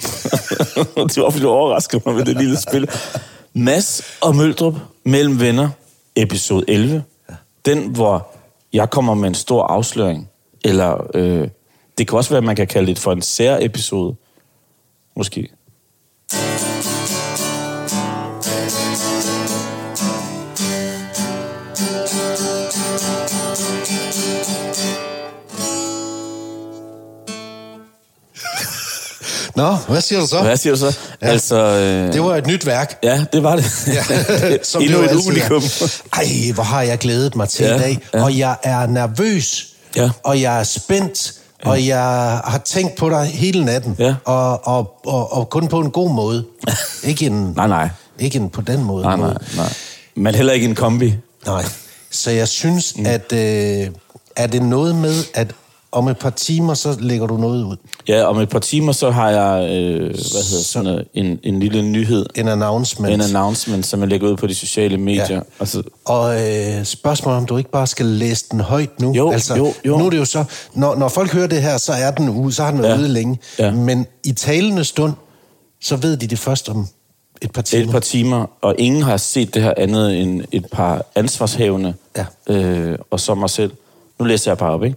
det var, fordi du overraskede mig med det lille spil. Mads og Møldrup mellem venner, episode 11. Den, hvor jeg kommer med en stor afsløring. Eller øh, det kan også være, at man kan kalde det for en særepisode. Måske. Nå, hvad siger du så? Hvad siger du så? Ja. Altså, øh, Det var et nyt værk. ja, det var det. Ja, som Endnu det jo et altid er. unikum. Ej, hvor har jeg glædet mig til Ja, ja, i dag. ja. Ja. Og jeg er nervøs, Ja. og jeg er spændt, ja. og jeg har tænkt på dig hele natten. Ja. Og, og, og, og kun på en god måde. ikke, en, Nej, nej. ikke en på den måde. Nej, nej, nej. Men heller ikke en kombi. nej. Så jeg synes, mm. at øh, er det noget med, at om et par timer, så lægger du noget ud. Ja, om et par timer, så har jeg øh, hvad hedder sådan noget, en, en lille nyhed. En announcement. En announcement, som jeg lægger ud på de sociale medier. Ja. Altså, Og øh, spørgsmålet om du ikke bare skal læse den højt nu. Altså, Jo, jo, jo. Nu er det jo så, når, når folk hører det her, så er den ude, så har den været Ja. ja. ude længe. Ja. Men i talende stund, så ved de det først om et par timer. et par timer, og ingen har set det her andet end et par ansvarshævende, Ja. øh, og så mig selv. Nu læser jeg bare op, ikke?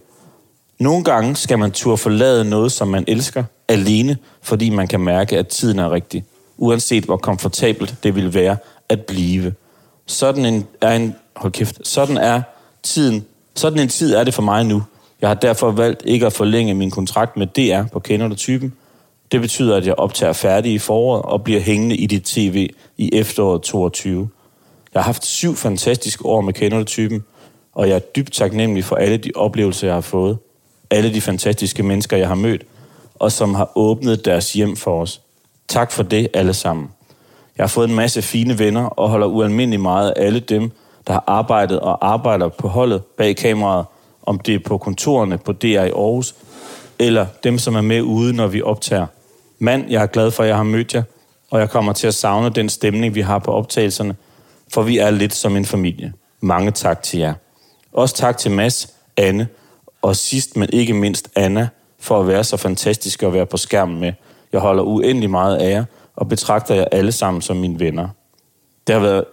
Nogle gange skal man turde forlade noget, som man elsker, alene, fordi man kan mærke, at tiden er rigtig. Uanset hvor komfortabelt det vil være at blive. Sådan en, er en... Hold kæft. Sådan er tiden... Sådan en tid er det for mig nu. Jeg har derfor valgt ikke at forlænge min kontrakt med DR på Kender du typen. Det betyder, at jeg optager færdig i foråret og bliver hængende i dit tv i efteråret 22. Jeg har haft syv fantastiske år med Kender du typen, og jeg er dybt taknemmelig for alle de oplevelser, jeg har fået. Alle de fantastiske mennesker, jeg har mødt, og som har åbnet deres hjem for os. Tak for det alle sammen. Jeg har fået en masse fine venner og holder ualmindelig meget af alle dem, der har arbejdet og arbejder på holdet bag kameraet, om det er på kontorerne på DR i Aarhus, eller dem, som er med ude, når vi optager. Mand, jeg er glad for, at jeg har mødt jer, og jeg kommer til at savne den stemning, vi har på optagelserne, for vi er lidt som en familie. Mange tak til jer. Også tak til Mads, Anne og sidst, men ikke mindst Anna, for at være så fantastisk at være på skærmen med. Jeg holder uendelig meget af jer, og betragter jer alle sammen som mine venner. Det har, været,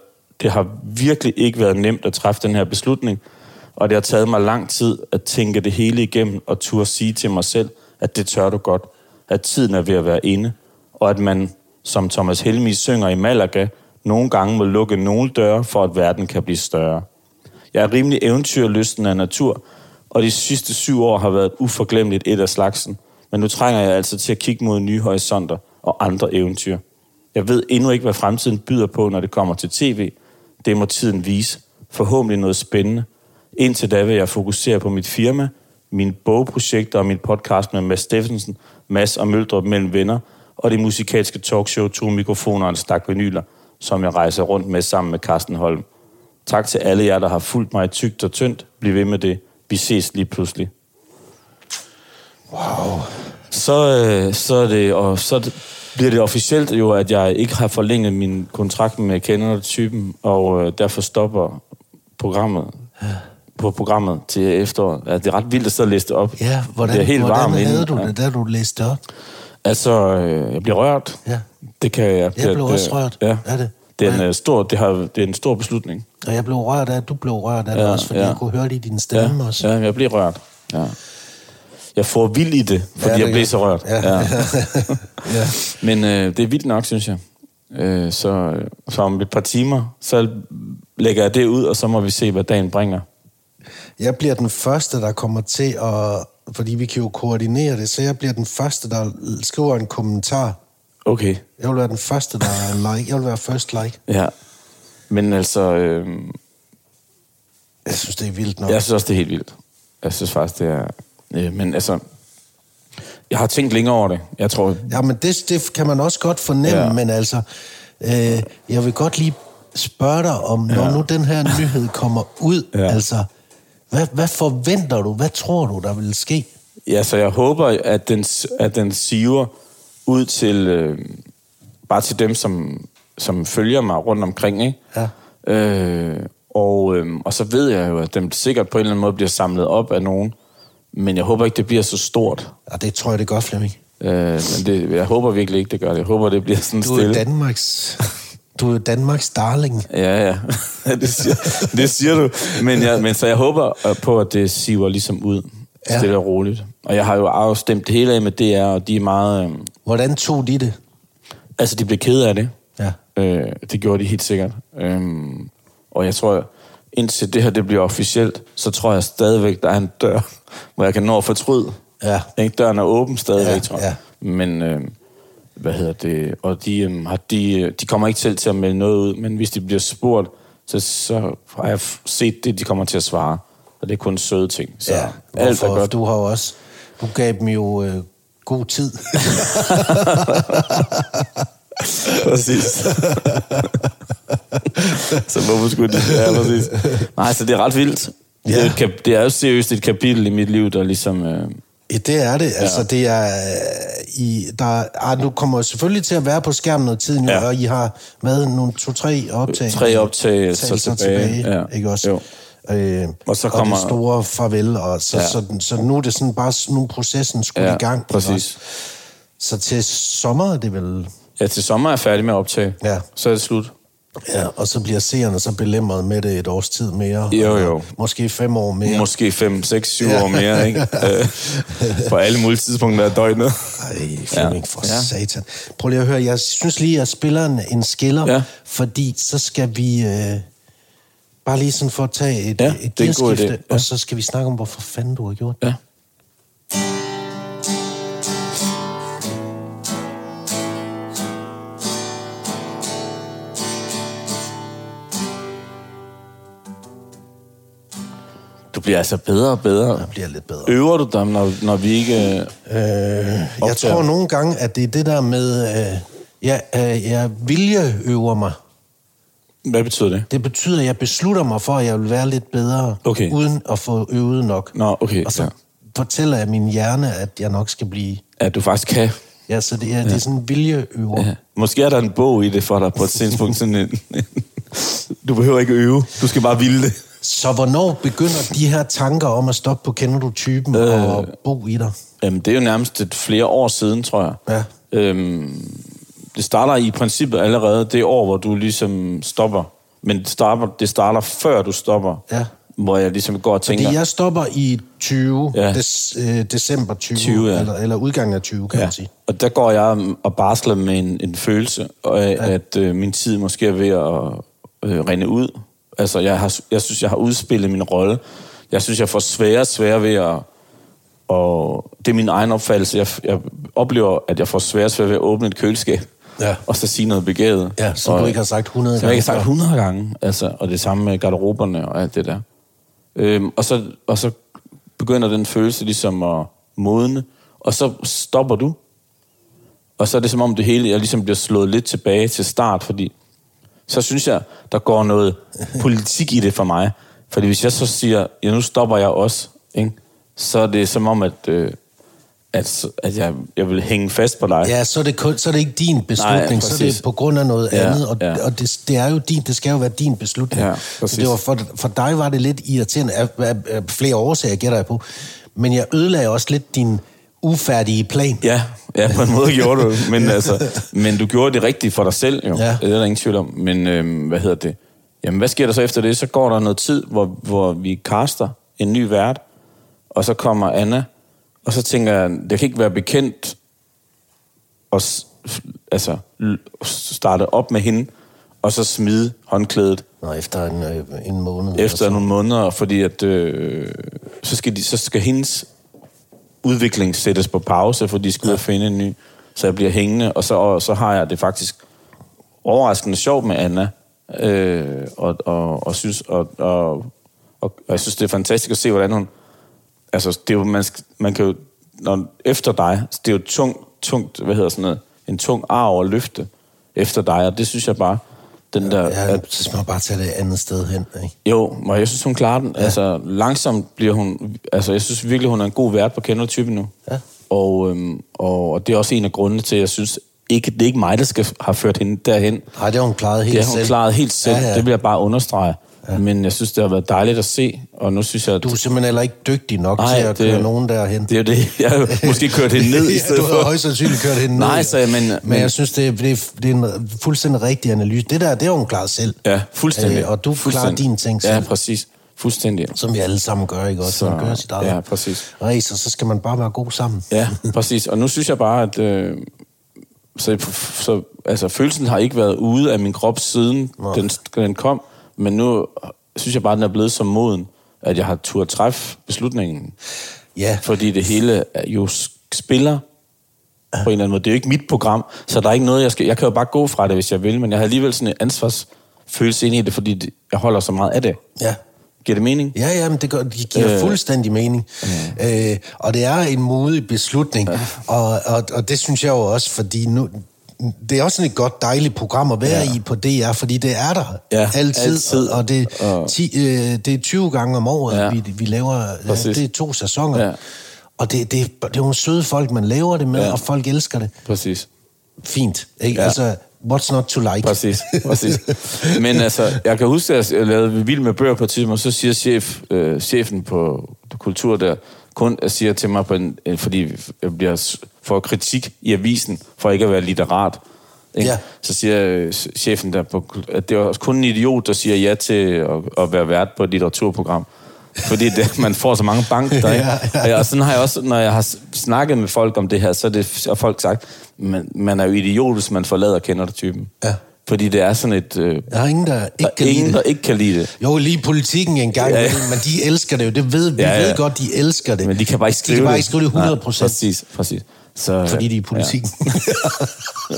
det har virkelig ikke været nemt at træffe den her beslutning, og det har taget mig lang tid at tænke det hele igennem og turde sige til mig selv, at det tør du godt, at tiden er ved at være inde, og at man, som Thomas Helmi synger i Malaga, nogle gange må lukke nogle døre, for at verden kan blive større. Jeg er rimelig eventyrlysten af natur, og de sidste syv år har været et uforglemmeligt et af slagsen. Men nu trænger jeg altså til at kigge mod nye horisonter og andre eventyr. Jeg ved endnu ikke, hvad fremtiden byder på, når det kommer til tv. Det må tiden vise. Forhåbentlig noget spændende. Indtil da vil jeg fokusere på mit firma, mine bogprojekter og min podcast med Mads Steffensen, Mads og Møldrup mellem venner, og det musikalske talkshow To Mikrofoner og en stak vinyler, som jeg rejser rundt med sammen med Carsten Holm. Tak til alle jer, der har fulgt mig tygt og tyndt. Bliv ved med det. Vi ses lige pludselig. Wow. Så, øh, så, er det, og så er det- bliver det officielt jo, at jeg ikke har forlænget min kontrakt med kendertypen, og øh, derfor stopper programmet på programmet til efteråret. Ja, det er ret vildt at sidde og læse det op. Ja, hvordan, det er helt hvordan varm havde inden. du det, da du læste det op? Altså, øh, jeg bliver rørt. Ja. Det kan jeg. Jeg blev også rørt Ja. af det. Det er en, Ja. øh, stor, det, har, det er en stor beslutning. Og jeg blev rørt af, at du blev rørt af ja, Ja, det også, fordi ja. ja. jeg kunne høre det i din stemme ja, også. Ja, jeg blev rørt. Ja. Jeg får vild i det, fordi Ja, ja, det det jeg blev gør- så rørt. Ja. ja. Men øh, det er vildt nok, synes jeg. Øh, så, så om et par timer, så lægger jeg det ud, og så må vi se, hvad dagen bringer. Jeg bliver den første, der kommer til at... Fordi vi kan jo koordinere det, så jeg bliver den første, der skriver en kommentar. Okay. Jeg vil være den første, der er like. Jeg vil være first like. Ja. Men altså, øh, Jeg synes, det er vildt nok. jeg synes også, det er helt vildt. Jeg synes faktisk, det er... Øh, men altså, jeg har tænkt længere over det. Jeg tror, Ja, men det, det kan man også godt fornemme, Ja. ja. men altså, øh, jeg vil godt lige spørge dig om, når Ja. ja. nu den her nyhed kommer ud, Ja. ja. altså, hvad, hvad forventer du? Hvad tror du, der vil ske? Ja, så jeg håber, at den, at den siver ud til, øh, bare til dem, som, som følger mig rundt omkring, ikke? Ja. Øh, og, øh, og så ved jeg jo, at den sikkert på en eller anden måde bliver samlet op af nogen, men jeg håber ikke, det bliver så stort. Ja, det tror jeg, det gør, Flemming. Øh, men det, jeg håber virkelig ikke, det gør det. Jeg håber, det bliver sådan Du er jo stille. Danmarks... Du er jo Danmarks darling. Ja, ja. det, siger, det siger du. Men, jeg, men så jeg håber øh, på, at det siver ligesom ud. Ja. Ja. Stille og roligt. Og jeg har jo afstemt det hele af med DR, og de er meget... Øh, Hvordan tog de det? altså, de blev kede af det. Ja. Øh, det gjorde de helt sikkert. Øhm, og jeg tror, indtil det her det bliver officielt, så tror jeg stadigvæk, der er en dør, hvor jeg kan nå at fortryde. Ja. Ikke? Døren er åben stadigvæk, Ja, ja, tror jeg. Ja. Men, øh, hvad hedder det? Og de, øh, har de, øh, de kommer ikke selv til at melde noget ud, men hvis de bliver spurgt, så, så har jeg f- set det, de kommer til at svare. Og det er kun søde ting. Så ja. ja, alt er Hvorfor? godt. Du har jo også... Du gav dem jo øh, god tid. præcis. så hvorfor skulle det Ja, præcis. Nej, så det er ret vildt. Ja. Det, er Ja. et kap- det er jo seriøst et kapitel i mit liv, der ligesom... Øh, Ja, det er det. Altså, ja. det er... øh, I, der, ah, du kommer jo selvfølgelig til at være på skærmen noget tid nu, ja. Ja. og I har været nogle to-tre optag. Tre optagelser tilbage. Ja. Ja. Ikke også? Jo. Øh, Og så og kommer- det store farvel, og så, ja. Ja. så, så, så nu er det sådan bare sådan, nu er processen skulle ja, i gang. ikke også? præcis. Så til sommer er det vel... Ja, til sommer er jeg færdig med at optage. Ja. Så er det slut. Ja, og så bliver seerne så belemret med det et års tid mere. Jo, jo. Og Måske fem år mere. Måske 5, 6, 7 Ja. år mere, ikke? Øh, på alle mulige tidspunkter af døgnet. Ej, Flemming, for ja. Ja. satan. Prøv lige at høre, jeg synes lige, at jeg spiller en, en skiller, ja. Ja. fordi så skal vi øh, bare lige sådan for at tage et, Ja, ja, det er et en god gearskifte, idé, ja. og så skal vi snakke om, hvorfor fanden du har gjort det. Ja. Du bliver altså bedre og bedre. Det bliver lidt bedre. Øver du dig, når, når vi ikke... Øh, jeg opdager tror det. nogle gange, at det er det der med, øh, jeg, øh, jeg viljeøver mig. Hvad betyder det? Det betyder, at jeg beslutter mig for, at jeg vil være lidt bedre, Okay. uden at få øvet nok. Nå, okay, Og så ja. fortæller jeg min hjerne, at jeg nok skal blive... At du faktisk kan. Ja, så det er, ja. det er sådan en viljeøver. Ja. Ja. Måske er der en bog i det for dig på et tidspunkt. Sådan en, du behøver ikke øve. Du skal bare ville det. Så hvornår begynder de her tanker om at stoppe på Kender du typen øh. og bo i dig? Jamen, Øhm, det er jo nærmest et flere år siden, tror jeg. Ja. Øhm, det starter i princippet allerede det år, hvor du ligesom stopper. Men det starter, det starter før du stopper. Ja. Hvor jeg ligesom går og tænker... Fordi jeg stopper i 20, ja. Ja. des, øh, december 20, 20, ja. eller, eller udgangen af 20, kan ja. man sige. Og der går jeg og barsler med en, en følelse af, ja. at øh, min tid måske er ved at øh, rinde ud. Altså, jeg, har, jeg synes, jeg har udspillet min rolle. Jeg synes, jeg får sværere og sværere ved at... Og det er min egen opfattelse. Jeg, jeg oplever, at jeg får sværere og sværere ved at åbne et køleskab. Ja. Og så sige noget begavet. Ja, som og, du ikke har sagt 100 Som jeg ikke har gange sagt før. 100 gange. Altså, og det samme med garderoberne og alt det der. Øhm, og, så, og så begynder den følelse ligesom at modne, og så stopper du. Og så er det som om det hele jeg ligesom bliver slået lidt tilbage til start, fordi så synes jeg, der går noget politik i det for mig. Fordi hvis jeg så siger, ja, nu stopper jeg også, ikke? så er det som om, at, øh, at, at jeg, jeg vil hænge fast på dig. Ja, så er det, kun, så er det ikke din beslutning, Nej, Nej, så er det præcis. på grund af noget ja, Ja, andet, og, ja. ja. og det, det er jo din, det skal jo være din beslutning. Ja, så præcis. det var for, for dig var det lidt irriterende, af, af, af flere årsager gætter jeg på, men jeg ødelagde også lidt din ufærdige plan. Ja, ja, på en måde gjorde du men, altså, men du gjorde det rigtigt for dig selv, jo. Ja. Ja. Det er der ingen tvivl om. Men øhm, hvad hedder det? Jamen, hvad sker der så efter det? Så går der noget tid, hvor, hvor vi kaster en ny vært, og så kommer Anna, og så tænker jeg, jeg kan ikke være bekendt og s- f- altså, l- starte op med hende, og så smide håndklædet Nå, efter en, øh, en måned. eller efter nogle måneder, fordi at, øh, så, skal de, så skal hendes udvikling sættes på pause, fordi de skal ud og finde en ny. Så jeg bliver hængende, og så, og så har jeg det faktisk overraskende sjovt med Anna, øh, og, og, og, synes, og, og, og, og jeg synes, det er fantastisk at se, hvordan hun... Altså, det er jo, man, skal- man kan jo... Når, efter dig, det er jo tungt, tungt, hvad hedder sådan noget, en tung arv at løfte efter dig, og det synes jeg bare, den der... Ja, at- så skal man bare tage det et andet sted hen. Ikke? jo, og jeg synes, hun klarer den. Ja. Altså, langsomt bliver hun... Altså, jeg synes virkelig, hun er en god vært på kendertypen nu. Ja. Og, øhm, og, og det er også en af grundene til, at jeg synes, ikke, det er ikke mig, der skal have ført hende derhen. Nej, det har hun klaret helt Det har hun selv. klaret helt selv. Ja, ja. Det vil jeg bare understrege. Ja. Men jeg synes, det har været dejligt at se, og nu synes jeg... At Du er simpelthen heller ikke dygtig nok Nej, Ej, til at det- det, køre nogen derhen. Det er jo det. Jeg har jo måske kørt det ned i ja, stedet du har for. højst sandsynligt kørt hende ned. Nej, så jeg- men- men, men- men jeg synes, det, er- det, er- det er en fuldstændig rigtig analyse. Det der, det har hun klaret selv. Ja, fuldstændig. Øh, og du klarer Fuldstændig. dine ting selv, Ja, ja. præcis. Fuldstændig. som vi alle sammen gør, ikke også? Så- Så, man gør sit eget ja, præcis. race, og så skal man bare være god sammen. Ja, præcis. Og nu synes jeg bare, at... Øh, så, så, altså, følelsen har ikke været ude af min krop siden den, den kom, men nu synes jeg bare, at den er blevet så moden, at jeg har turde træffe beslutningen. Ja, Fordi det hele er jo s- spiller på en eller anden måde. Det er jo ikke mit program, så der er ikke noget, jeg skal... Jeg kan jo bare gå fra det, hvis jeg vil, men jeg har alligevel sådan en ansvarsfølelse ind i det, fordi det- jeg holder så meget af det. ja. Giver det mening? Ja, ja, men det, gør, det giver Øh. Mm. øh. fuldstændig mening. Øh, og det er en modig beslutning. Og, og, og det synes jeg jo også, fordi nu... Det er også sådan et godt, dejligt program at være Ja. ja. i på DR, fordi det er der Ja, altid, altid. og, og, det, Og- og... 10, øh, det er 20 gange om året, Ja. ja. vi, vi laver, Præcis. Præcis. det er to sæsoner, Ja. ja. og det, det, det er nogle søde folk, man laver det med, Ja. ja. og folk elsker det. Præcis. Fint, ikke? Ja. Ja. Altså, what's not to like? Præcis, præcis. Men altså, jeg kan huske, at jeg lavede Vild med bøger på et tidspunkt, og så siger chef, øh, chefen på kultur der, kun siger til mig, på en, øh, fordi jeg bliver s- får kritik i avisen for ikke at være litterat. Ikke? Ja. Så siger øh, chefen der, på, kul- at det er også kun en idiot, der siger ja til at, at være vært på et litteraturprogram. Fordi det, man får så mange bank der, ikke? Ja, ja. Og jeg- Og sådan har jeg også, når jeg har s- snakket med folk om det her, så er det, så har folk sagt, man, man er jo idiot, hvis man forlader kender det typen. Ja. Fordi det er sådan et... Øh, Der er ingen, der ikke der kan er lide ingen, det. der ikke kan lide det. Jo, lige politikken en gang, Ja, ja, ja. ja. men de elsker det jo. Det ved, vi Ja, ja, ja. ja. ved godt, de elsker det. Men de kan bare ikke skrive de det. kan bare ikke skrive det 100 Nej, procent, Præcis, præcis. Så, fordi de er i ja. politikken. Ja. Ja.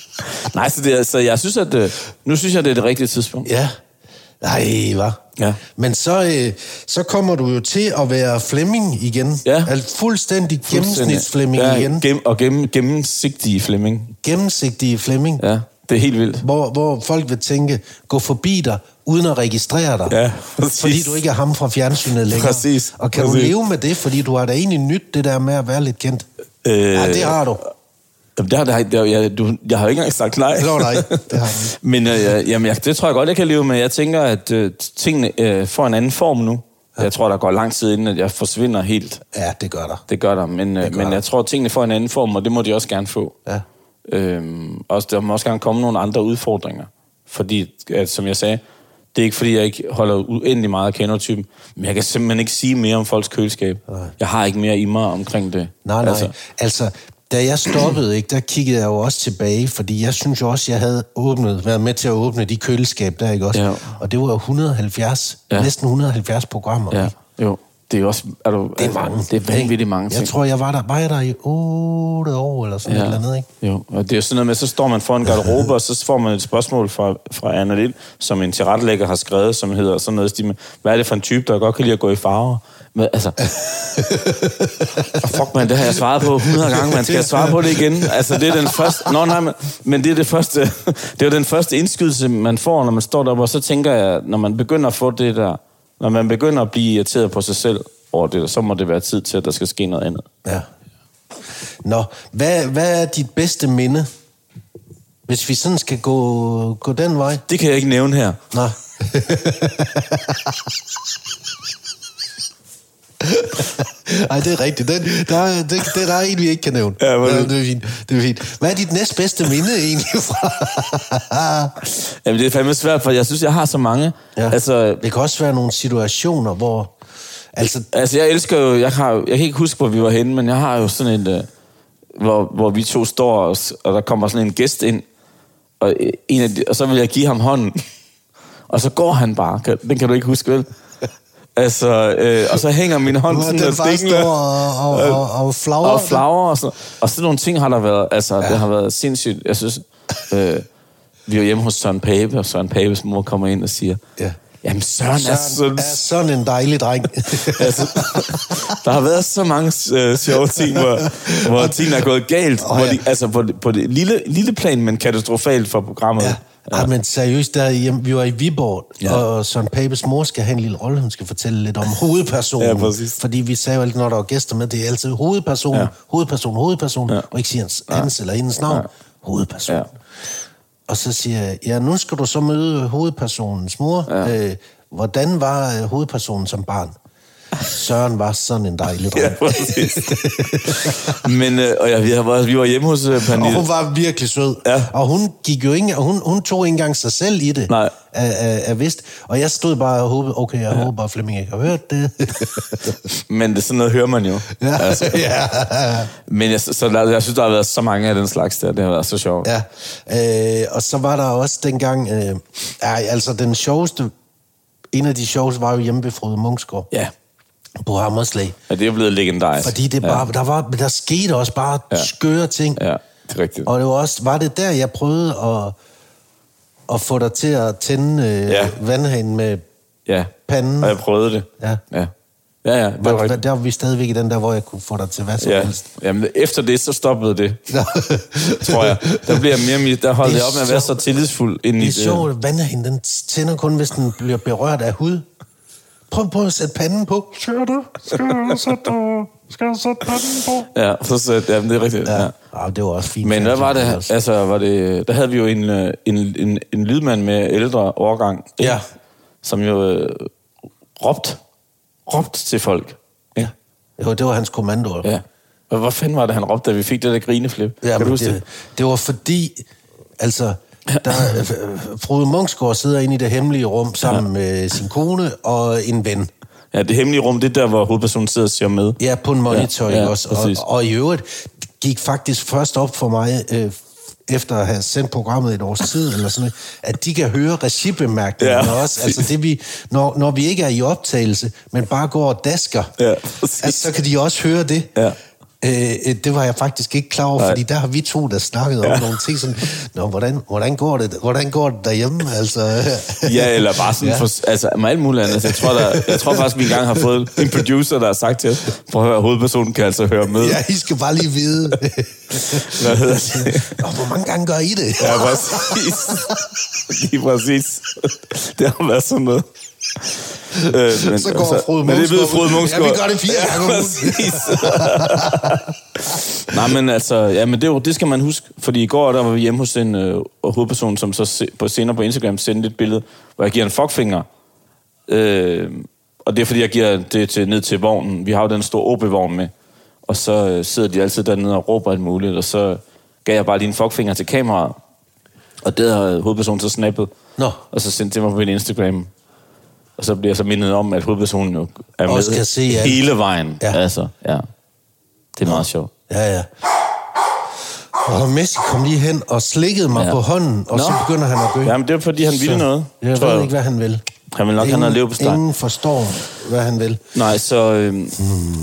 Nej, så, det er, så jeg synes, at... Øh, nu synes jeg, det er det rigtige tidspunkt. ja. Nej, hva? Ja. Men så, øh, så kommer du jo til at være Flemming igen. Ja. Altså fuldstændig Fuldstændig. gennemsnitsflemming ja. igen. Gennem, og gennem, gennemsigtige Flemming. Gennemsigtige Flemming. Ja. Ja, det er helt vildt. Hvor, hvor folk vil tænke, gå forbi dig, uden at registrere dig. Ja, præcis. fordi du ikke er ham fra fjernsynet længere. Præcis, Og kan præcis. du leve med det, fordi du har da egentlig nyt det der med at være lidt kendt. Øh, Ja, det har du. Jamen, det har, det har, det har, jeg, du, jeg har jo ikke engang sagt nej. Nå, nej, det har jeg Men øh, jeg- jamen, jeg, det tror jeg godt, jeg kan leve med. Jeg tænker, at øh, tingene øh, får en anden form nu. Jeg tror, der går lang tid, inden at jeg forsvinder helt. Ja, det gør der. Det gør der, men, øh, gør men der. jeg tror, at tingene får en anden form, og det må de også gerne få. Ja. Øhm, også, der må også gerne komme nogle andre udfordringer. Fordi, at, som jeg sagde, det er ikke fordi, jeg ikke holder uendelig meget af kanotypen, men jeg kan simpelthen ikke sige mere om folks køleskab. Nej. Jeg har ikke mere i mig omkring det. Nej, nej. Altså, altså da jeg stoppede, ikke, der kiggede jeg jo også tilbage, fordi jeg synes jo også, jeg havde åbnet, været med til at åbne de køleskab der, ikke også? Ja. Og det var jo 170, Ja. ja. næsten 170 programmer. Ja, ikke? jo. Det er også... Er du, altså, Det er mange. Det er vanvittigt mange ting. Jeg tror, jeg var der, var jeg der i 8 år eller sådan ja. et eller andet, ikke? Jo, og det er jo sådan noget med, så står man foran garderobe, og så får man et spørgsmål fra, fra Anna Lind, som en tilrettelægger har skrevet, som hedder sådan noget i stil med, hvad er det for en type, der godt kan lide at gå i farver? Men, altså, fuck man, det har jeg svaret på 100 gange, man skal jeg svare på det igen. Altså, det er den første, nå, nej, men, men det er det første, det er jo den første indskydelse, man får, når man står deroppe, og så tænker jeg, når man begynder at få det der, når man begynder at blive irriteret på sig selv over det, så må det være tid til, at der skal ske noget andet. Ja. Nå, hvad, hvad er dit bedste minde? Hvis vi sådan skal gå, gå den vej. Det kan jeg ikke nævne her. Nå, Ej, det er rigtigt. Den, der, er- det, det, der er en, vi ikke kan nævne. Ja, hvor er det- det, det, er fint. det er fint. Hvad er dit næstbedste minde egentlig fra? Jamen, det er fandme svært, for jeg synes, jeg har så mange. Ja. Altså, det kan også være nogle situationer, hvor... Altså, altså, jeg elsker jo... Jeg, har, jo- jeg kan ikke huske, hvor vi var henne, men jeg har jo sådan en... Øh, hvor, hvor vi to står, og, s- og der kommer sådan en gæst ind, og, øh, en af de, og så vil jeg give ham hånden. Og så går han bare. Kan, den kan du ikke huske, vel? Altså, øh, og så hænger min hånd hvor sådan den og bare dingler. står og, og, og, og flagrer. og flagre og sådan Og sådan nogle ting har der været, altså ja. det har været sindssygt. Jeg synes, øh, vi var hjemme hos Søren Pape, og Søren Papes mor kommer ind og siger, Ja. jamen Søren, Søren er Søren sådan... er sådan en dejlig dreng. Altså, der har været så mange øh, sjove ting, hvor, hvor tingene er gået galt. Oh, Åh, hvor ja. de, altså på, det- på det lille, lille plan, men katastrofalt for programmet. Ja. Ja. men seriøst, der, jamen, vi var i Viborg, Ja. ja. og Søren Papes mor skal have en lille rolle, hun skal fortælle lidt om hovedpersonen. Ja, præcis. Fordi vi sagde jo altid, når der var gæster med, det er altid hovedpersonen, Ja. ja. hovedpersonen, hovedpersonen, Ja. ja. og ikke siger hans, hans eller hendes navn, Ja. ja. hovedpersonen. Ja. Ja. Og så siger jeg, ja, nu skal du så møde hovedpersonens mor. Ja. Øh, Hvordan var øh, hovedpersonen som barn? Søren var sådan en dejlig dreng. Ja, præcis. Men, øh, og jeg, vi, har, været- vi var hjemme hos øh, Og Pernille. hun var virkelig sød. Ja. Og hun gik jo ikke, hun, hun tog ikke engang sig selv i det. Nej. Af, af, af vist. Og jeg stod bare og håbede, okay, jeg ja. håber bare Flemming ikke har hørt det. Men det, sådan noget hører man jo. ja. Altså. ja. Men jeg, så, der, jeg synes, der har været så mange af den slags der. Det har været så sjovt. ja. Øh, og så var der også dengang, øh, ej, altså den sjoveste, en af de sjoveste var jo hjemme ved Frode Munchsgaard ja. på Hammerslag. Og det er jo blevet legendarisk. Fordi det bare, ja. der, var, der skete også bare ja. skøre ting. Ja, det er rigtigt. Og det var, også, var det der, jeg prøvede at, at få dig til at tænde øh, Ja. ja. vandhanen med... Ja. Panden. Og jeg prøvede det. Ja. Ja, ja, ja det Var, var var, rigtigt. der var vi stadigvæk i den der, hvor jeg kunne få dig til hvad som Ja. helst. Jamen, efter det, så stoppede det, Nå. tror jeg. Der, bliver jeg mere, og mere- der holdt Det jeg er op med at være så sjovt. tillidsfuld ind i Det er sjovt, at vandhanen, den tænder kun, hvis den bliver berørt af hud. Prøv, prøv at sætte panden på. Skal du? Skal du sætte, øh, skal du sætte panden på? Ja, så, så, jamen, det er rigtigt. Ja. Ja. det var også fint. Men hvad var det? Også. Altså, var det, der havde vi jo en, øh, en, en, en lydmand med ældre årgang, ikke? Ja. som jo øh, råbte, råbte til folk. Ja. altså. Jo, det var hans kommando. ja. Og Hvad fanden var det, han råbte, da vi fik det der grineflip? Ja, kan du men huske det? det, det var fordi, altså, der, øh, Frode Munchsgaard sidder inde i det hemmelige rum sammen med sin kone og en ven. Ja, det hemmelige rum, det er der, hvor hovedpersonen sidder og ser med. Ja, på en monitor, Ja, ja, ja, ja, også. præcis. Og, og i øvrigt gik faktisk først op for mig, øh, efter at have sendt programmet et års tid, eller sådan noget, at de kan høre regibemærkningerne Ja, ja, også. Altså det vi, når, når vi ikke er i optagelse, men bare går og dasker, Ja, præcis. altså, så kan de også høre det. Ja. Øh, øh, det var jeg faktisk ikke klar over, Nej. fordi der har vi to, der snakket ja. om nogle ting, sådan, Nå, hvordan, hvordan, går det, hvordan går det derhjemme? Altså, Ja, eller bare sådan, ja. for, altså med alt muligt andet. Altså, jeg, tror, der, jeg tror faktisk, vi engang har fået en producer, der har sagt til os, prøv at høre, hovedpersonen kan altså høre med. ja, I skal bare lige vide. Hvad hedder det? Nå, hvor mange gange gør I det? Ja, præcis. Lige præcis. Det har været sådan noget. Øh, men, Så går Frode Men det ved Munksgaard ud. Frode Munksgaard. Ja, vi gør det fire gange om ugen. præcis. Nej, men altså, ja, men det, er jo- det skal man huske. Fordi i går, der var vi hjemme hos en øh, hovedperson, som så se, på senere på Instagram sendte et billede, hvor jeg giver en fuckfinger. Øh, og det er, fordi jeg giver det til, ned til vognen. Vi har jo den store OB-vogn med. Og så øh, sidder de altid dernede og råber alt muligt, og så gav jeg bare lige en fuckfinger til kameraet. Og det har hovedpersonen så snappet. Nå. Og så sendt det mig på min Instagram. Og så bliver jeg så mindet om, at hovedpersonen jo er Også med kan se alt. hele vejen. Ja. Altså, ja. Det er meget sjovt. Ja, ja. Og Messi kom lige hen og slikkede mig Ja. ja. på hånden, og Nå. så Nå. begynder han at gø. Jamen, det er fordi, han ville noget, Jeg tror ved jeg. ikke, hvad han vil. Han vil nok have ingen, noget leverpostej. Ingen forstår, hvad han vil. Nej, så... Øh,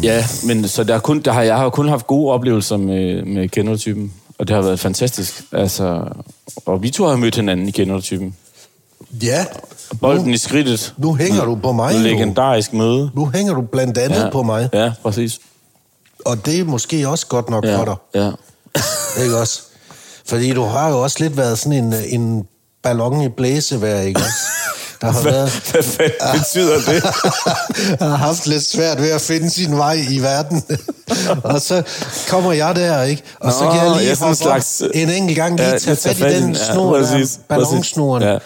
ja, men så der, er kun, der har, jeg har jo kun haft gode oplevelser med, med kendertypen. Og det har været fantastisk. Altså, og vi to har mødt hinanden i kendertypen. Ja, Bolden i skridtet. nu hænger du på mig. Et Nu, legendarisk møde. nu hænger du blandt andet ja. på mig. Ja, præcis. Og det er måske også godt nok ja. for Ja, dig. ja. Ikke også? Fordi du har jo også lidt været sådan en, en ballon i blæsevejr, ikke også? Der har været... Hvad fanden Ah. betyder det? har haft lidt svært ved at finde sin vej i verden. og så kommer jeg der, ikke? Og så Nå, kan jeg lige ja, ja, sådan hoppe slags- øh, slags, en enkelt gang lige Ja, ja, tage lige tage fat, fat i i den den, ja, snor, ja, præcis, der, ballonsnoren, præcis, ja.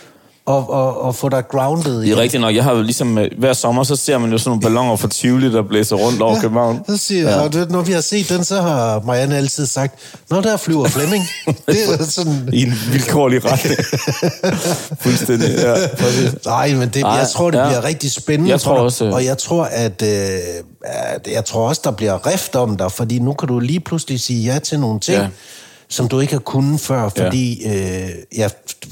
og, og, og få dig grounded. Det ikke? er rigtigt nok. Jeg har jo ligesom øh, hver sommer, så ser man jo sådan nogle balloner fra Tivoli, der blæser rundt over ja. København. Så siger jeg, Ja. ja. og du ved, når vi har set den, så har Marianne altid sagt, Nå, der flyver Flemming. det er sådan... I en vilkårlig retning. Fuldstændig, ja. præcis. Nej, men det, Nej, jeg tror, det ja. bliver rigtig spændende. Jeg tror for dig. også, øh. Og jeg tror, at, øh, at jeg tror også, der bliver rift om dig, fordi nu kan du lige pludselig sige ja til nogle ting, Ja. ja. som du ikke har kunnet før, Ja. fordi ja. Øh, ja,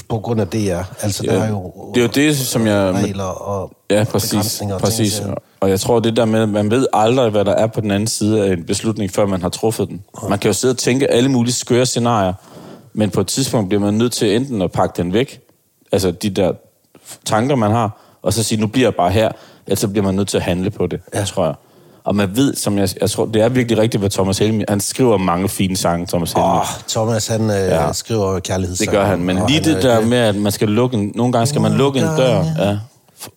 på grund af det, ja. Altså, ja. der er jo Det er jo det, som jeg... regler og Ja, præcis. begrænsninger og præcis. ting. til. Og jeg tror, det der med, at man ved aldrig, hvad der er på den anden side af en beslutning, før man har truffet den. Man kan jo sidde og tænke alle mulige skøre scenarier, men på et tidspunkt bliver man nødt til enten at pakke den væk, altså de der tanker, man har, og så sige, nu bliver jeg bare her, ellers så bliver man nødt til at handle på det, ja. tror jeg. Og man ved, som jeg, jeg tror, det er virkelig rigtigt, hvad Thomas Helmi, han skriver mange fine sange, Thomas Helmi. Åh, Thomas, han øh, ja. skriver kærlighed. Det gør han, men lige øh, det der med, at man skal lukke en, nogle gange skal man lukke en dør, ja.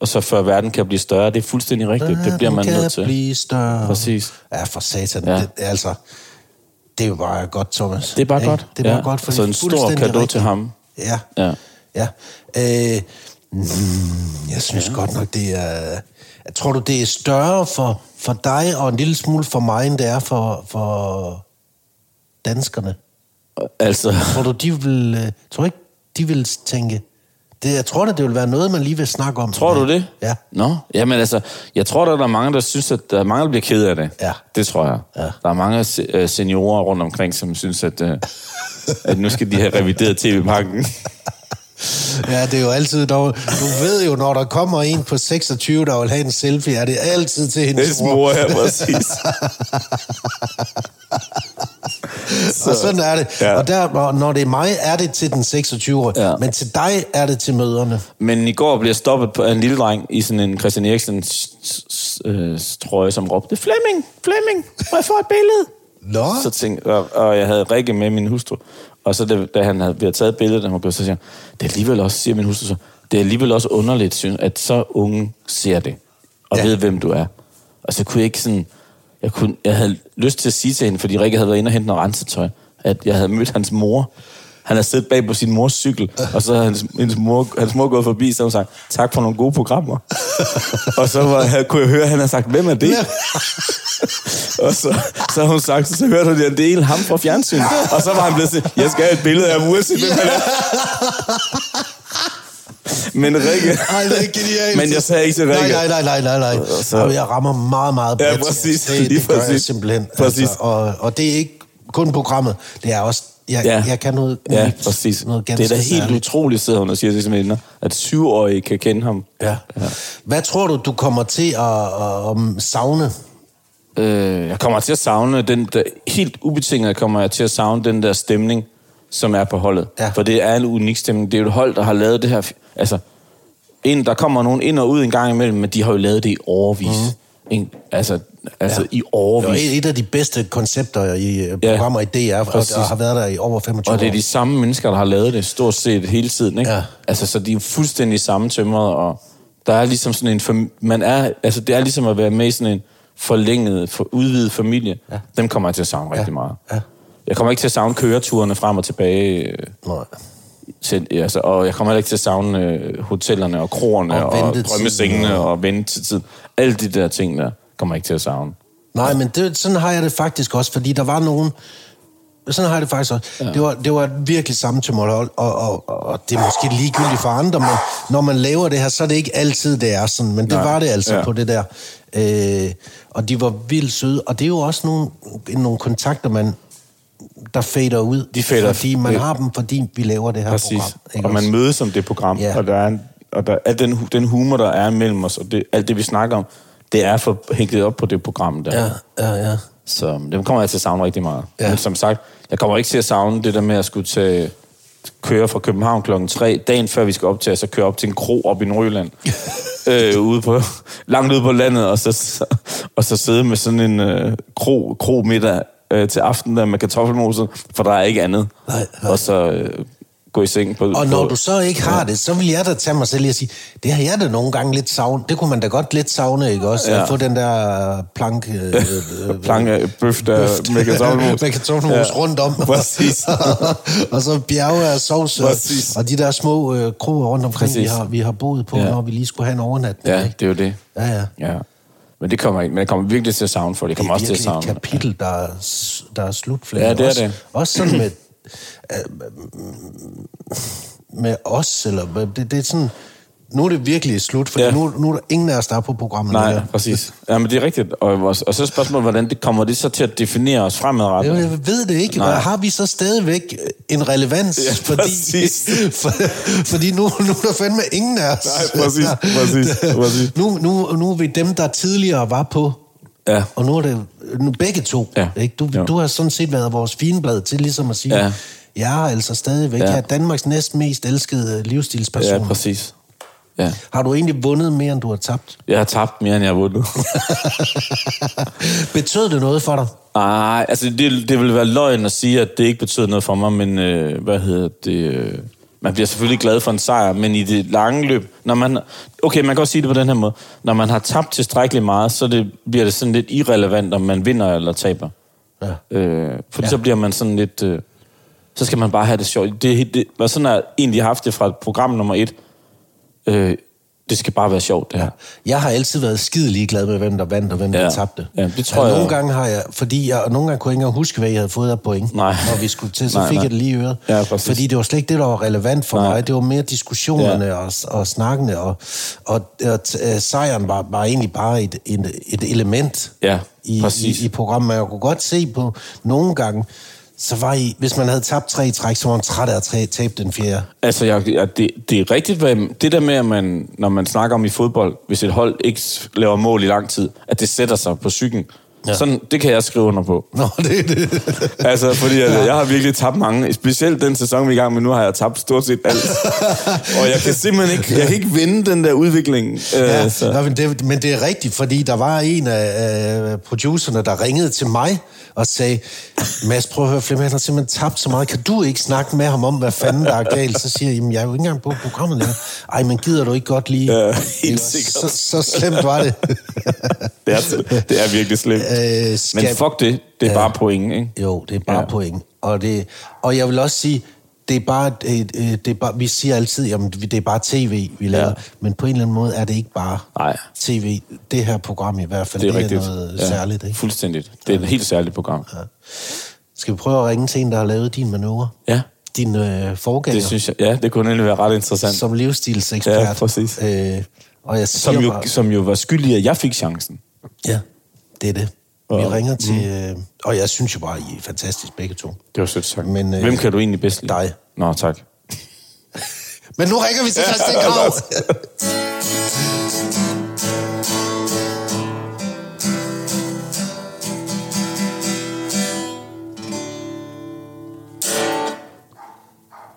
og så før verden kan blive større, det er fuldstændig rigtigt, det bliver man kan nødt til. blive større. Præcis. Ja, for satan. Ja. Ja. Det, altså, det var bare godt, Thomas. Det er bare Ikke? godt. Det er bare Ja. Altså, godt, for Så det er en stor fuldstændig cadeau til rigtigt. ham. Ja. Ja. ja. Øh, Mm, jeg synes ja. godt nok, det er... Tror du, det er større for, for dig og en lille smule for mig, end det er for, for danskerne? Altså, Tror du, de vil... øh, Tror ikke, de vil tænke... Det, jeg tror da, det vil være noget, man lige vil snakke om. tror du det? Ja. Nå, jamen altså, jeg tror da, der er mange, der synes, at der er mange, der bliver ked af det. Ja. Det tror jeg. Ja. Der er mange se- øh, seniorer rundt omkring, som synes, at, øh, at nu skal de have revideret tv-pakken. Ja, det er jo altid... Dog, du ved jo, når der kommer en på 26, der vil have en selfie, er det altid til hendes Næste mor. mor her, præcis. Så. Og sådan er det. altså. Ja. Ja. Og der, og når det er mig, er det til den 26-årige. Ja. Ja. Men til dig er det til møderne. Men i går blev jeg stoppet på af en lille dreng i sådan en Christian Eriksens øh, trøje, som råbte, Flemming, Flemming, må jeg få et billede? Nå, Så tænkte, og, og jeg havde Rikke med min hustru. Og så da, da han havde, vi havde taget billedet, da han var blevet, så siger han, det er alligevel også, siger min hustru så, det er alligevel også underligt, synes, at så unge ser det, og ja. Ja. ved, hvem du er. Og så kunne jeg ikke sådan, jeg, kunne, jeg havde lyst til at sige til hende, fordi Rikke havde været inde og hente noget rensetøj, at jeg havde mødt hans mor. Han havde siddet bag på sin mors cykel, og så havde hans, hans, mor, hans mor gået forbi, så havde hun sagt, tak for nogle gode programmer. og så var, kunne jeg høre, at han havde sagt, hvem er det? Og så, så har hun sagt, så hørte hun, at det er en ham fra fjernsyn. Og så var han blevet sådan, jeg skal have et billede af ham, uanset hvem han er. Men Rikke... Ej, det er genialt. Men jeg sagde ikke til Rikke. Nej, nej, nej, nej, nej, nej. Så- Så... Jamen, jeg rammer meget, meget bredt. Ja, præcis. Det, Lige det gør jeg præcis. simpelthen. Præcis. Altså, og, og det er ikke kun programmet. Det er også... Jeg, ja. jeg kan noget... Ja, unikt, præcis. Noget det er da ganske helt særligt. utroligt, sidder hun og siger til sine venner, at syvårige kan kende ham. Ja. ja. Hvad tror du, du kommer til at, at, at savne? Øh, jeg kommer til at savne den der, helt ubetinget kommer jeg til at savne den der stemning, som er på holdet. Ja. For det er en unik stemning. Det er jo et hold, der har lavet det her. f- Altså, ind, der kommer nogen ind og ud en gang imellem, men de har jo lavet det i overvis. Mm. En, altså, altså ja. i Mhm. Det var overvis. et, et af de bedste koncepter i øh, Ja. programmer i DR, og, Præcis. og har været der i over 25 Og det er de samme mennesker, der har lavet det stort set hele tiden, ikke? Ja. Altså, så de er fuldstændig sammentømrede, og der er ligesom sådan en... Fam- man er, altså, det er ligesom at være med i sådan en forlænget, for, udvidet familie. Ja. Dem kommer jeg til at savne rigtig meget. Ja. Jeg kommer ikke til at savne køreturene frem og tilbage. øh, år. Nej. Til, altså, og jeg kommer heller ikke til at savne øh, hotellerne og kroerne Og og, og ventetiden. drømmesengene og ventetiden. Alle de der ting der kommer jeg ikke til at savne. Nej, men det, sådan har jeg det faktisk også, fordi der var nogen... Sådan har jeg det faktisk også. Ja. Det, var, det var virkelig samme til og, og, og, og det er måske ligegyldigt for andre, men når man laver det her, så er det ikke altid, det er sådan. Men det Nej. Nej. var det altså Ja. ja. på det der. Øh, og de var vildt søde, og det er jo også nogle, nogle kontakter, man der fader ud. De fader- Fordi man det- har dem, fordi vi laver det her Præcis. program. og man også? mødes om det program, ja. Ja. og, der er en, og der, al den, hu- den humor, der er mellem os, og det, alt det, vi snakker om, det er for hængt op på det program der. Ja, ja, ja. Så dem kommer jeg til at savne rigtig meget. Ja. Ja. Men som sagt, jeg kommer ikke til at savne det der med at skulle tage, køre fra København klokken 3, dagen før vi skal optage, så køre op til en kro op i Nordjylland, øh, ude på, langt ude på landet, og så, og så sidde med sådan en øh, kro, kro middag øh, til aften der med kartoffelmoset, for der er ikke andet. Nej, nej. Og så øh, gå i seng på... Og når på, du så ikke har det, så vil jeg da tage mig selv i at sige, det har jeg da nogle gange lidt savnet. Det kunne man da godt lidt savne, ikke også? Ja. Ja. At få den der plank... Øh, øh, planke bøf der med kartoffelmos. med kartoffelmos øh, Ja. rundt om. Præcis. og så bjerge af sovs. øh, Præcis. Og de der små øh, kroer rundt omkring, vi Præcis. har, vi har boet på, Ja. ja. når vi lige skulle have en overnatning. Ja, det er jo det. ja. ja. Ja. Men det kommer ikke. Men jeg kommer virkelig til at savne for det. Jeg Det kommer er også til at virkelig et savne. kapitel, der er, s- der er slutflade. Ja, det er også, det. Også sådan med, øh, med os, eller hvad- det, det er sådan, nu er det virkelig slut, for Ja. ja. nu, nu er der ingen af os, der er på programmet. Nej, længere. præcis. Ja, men det er rigtigt. Og, og så er spørgsmålet, hvordan det kommer det så til at definere os fremadrettet? Jeg, jeg ved det ikke. Nej. Nej. Har vi så stadigvæk en relevans? Ja, fordi, præcis. for, fordi nu, nu er der fandme ingen af os. Nej, præcis, der- præcis, der- præcis. Nu, nu, nu er vi dem, der tidligere var på, Ja. og nu er det nu begge to. Ja. Ikke? Du, Jo. du har sådan set været vores finblad til ligesom at sige, Ja. ja. jeg er altså stadigvæk Ja. ja. jeg er Danmarks næst mest elskede øh, livsstilsperson. Ja, præcis. Ja. har du egentlig vundet mere, end du har tabt? Jeg har tabt mere, end jeg har vundet. Betød det noget for dig? Nej, altså det, det ville være løgn at sige, at det ikke betød noget for mig, men øh, hvad hedder det... Øh, man bliver selvfølgelig glad for en sejr, men i det lange løb, når man... Okay, man kan også sige det på den her måde. Når man har tabt tilstrækkeligt meget, så det, bliver det sådan lidt irrelevant, om man vinder eller taber. Ja. Øh, fordi ja. så bliver man sådan lidt... Øh, så skal man bare have det sjovt. Det, det, og sådan har jeg egentlig haft det fra program nummer et. øh, det skal bare være sjovt, det her. Jeg har altid været skide ligeglad med, hvem der vandt og hvem ja. Ja. der tabte. Ja, det tror jeg- Nogle gange har jeg, fordi jeg, og nogle gange kunne jeg ikke engang huske, hvad jeg havde fået af point, Nej. når vi skulle til, så Nej, fik nej. jeg det lige i øret. Ja, præcis. fordi det var slet ikke det, der var relevant for nej. Nej. mig. Det var mere diskussionerne ja. og, og snakkene, og, og, og t- øh, sejren var, var egentlig bare et, et, et element Ja, i, præcis. i, i programmet. Og Jeg kunne godt se på nogle gange, så var I, hvis man havde tabt tre i træk, så var man træt af at træ- tabe den fjerde. Altså, jeg, jeg, det, det er rigtigt, hvad, det der med, at man, når man snakker om i fodbold, hvis et hold ikke s- laver mål i lang tid, at det sætter sig på psyken. Ja. Sådan, det kan jeg skrive under på. Nå, det er det. Altså, fordi jeg, jeg har virkelig tabt mange. Specielt den sæson, vi er i gang med nu, har jeg tabt stort set alt. og jeg kan simpelthen ikke, jeg kan ikke vinde den der udvikling. Ja, Ja. Øh, altså. så. Nå, men, det, men det er rigtigt, fordi der var en af øh, producerne, der ringede til mig og sagde, Mads, prøv at høre, Flemming, han har simpelthen tabt så meget. Kan du ikke snakke med ham om, hvad fanden der er galt? Så siger jeg, jamen, jeg er jo ikke engang på programmet længere. Ej, men gider du ikke godt lige? Ja, Det helt var sikkert. Så, så slemt var det. Det, er, det er virkelig slemt. Øh, skal- Men fuck det, det er bare point, ikke? Jo, det er bare ja. Ja. point. Og, det, og jeg vil også sige, det er bare, et, øh, det er bare vi siger altid, jamen det er bare tv, vi laver. Ja. Ja. Men på en eller anden måde er det ikke bare Nej. tv. Det her program i hvert fald, Det er rigtigt. noget særligt. Ikke? Fuldstændigt. Det er et helt særligt program. Skal vi prøve at ringe til en, der har lavet din manøvre? Ja, Din øh, forgænger det synes jeg. Ja, det kunne egentlig være ret interessant. som livsstilsekspert. Ja, præcis. Øh, og jeg Som siger jo, bare, som jo var skyldig, i, at jeg fik chancen. ja, det er det. Vi Og- ringer til... Mm. Øh, og jeg synes jo bare, I er fantastisk begge to. Det var sødt sagt. Men, øh, Hvem kan du egentlig bedst lide? dig. Nå, tak. Men nu ringer vi til Christian Krav.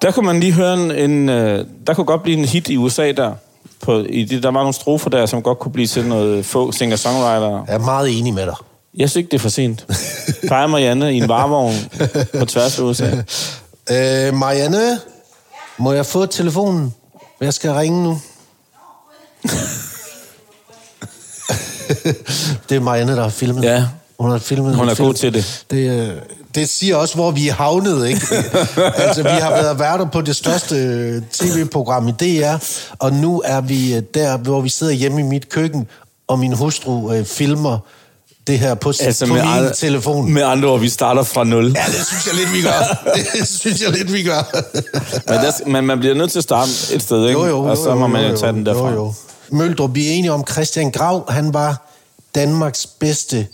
Der kunne man lige høre en... en øh, der kunne godt blive en hit i USA der. På, i det, der var nogle strofer der, som godt kunne blive til noget få singer-songwriter. jeg er meget enig med dig. Jeg synes ikke, det er for sent. Dig og Marianne i en varevogn på tværs af USA. Øh, Marianne, må jeg få telefonen? Jeg skal ringe nu. det er Marianne, der har filmet. Ja. Hun har filmet. Hun er film. god til det. Det, øh, det siger også, hvor vi er havnet, ikke? altså, vi har været værter på det største øh, tv-program i DR, og nu er vi øh, der, hvor vi sidder hjemme i mit køkken, og min hustru øh, filmer det her på, altså, på min andre- telefon. med andre ord, vi starter fra nul. Ja, det synes jeg lidt, vi gør. Det synes jeg lidt, vi gør. Men, der, men man bliver nødt til at starte et sted, ikke? og så må man jo tage den derfra. Jo, jo. Møldrup, vi er enige om Christian Grav. Han var Danmarks bedste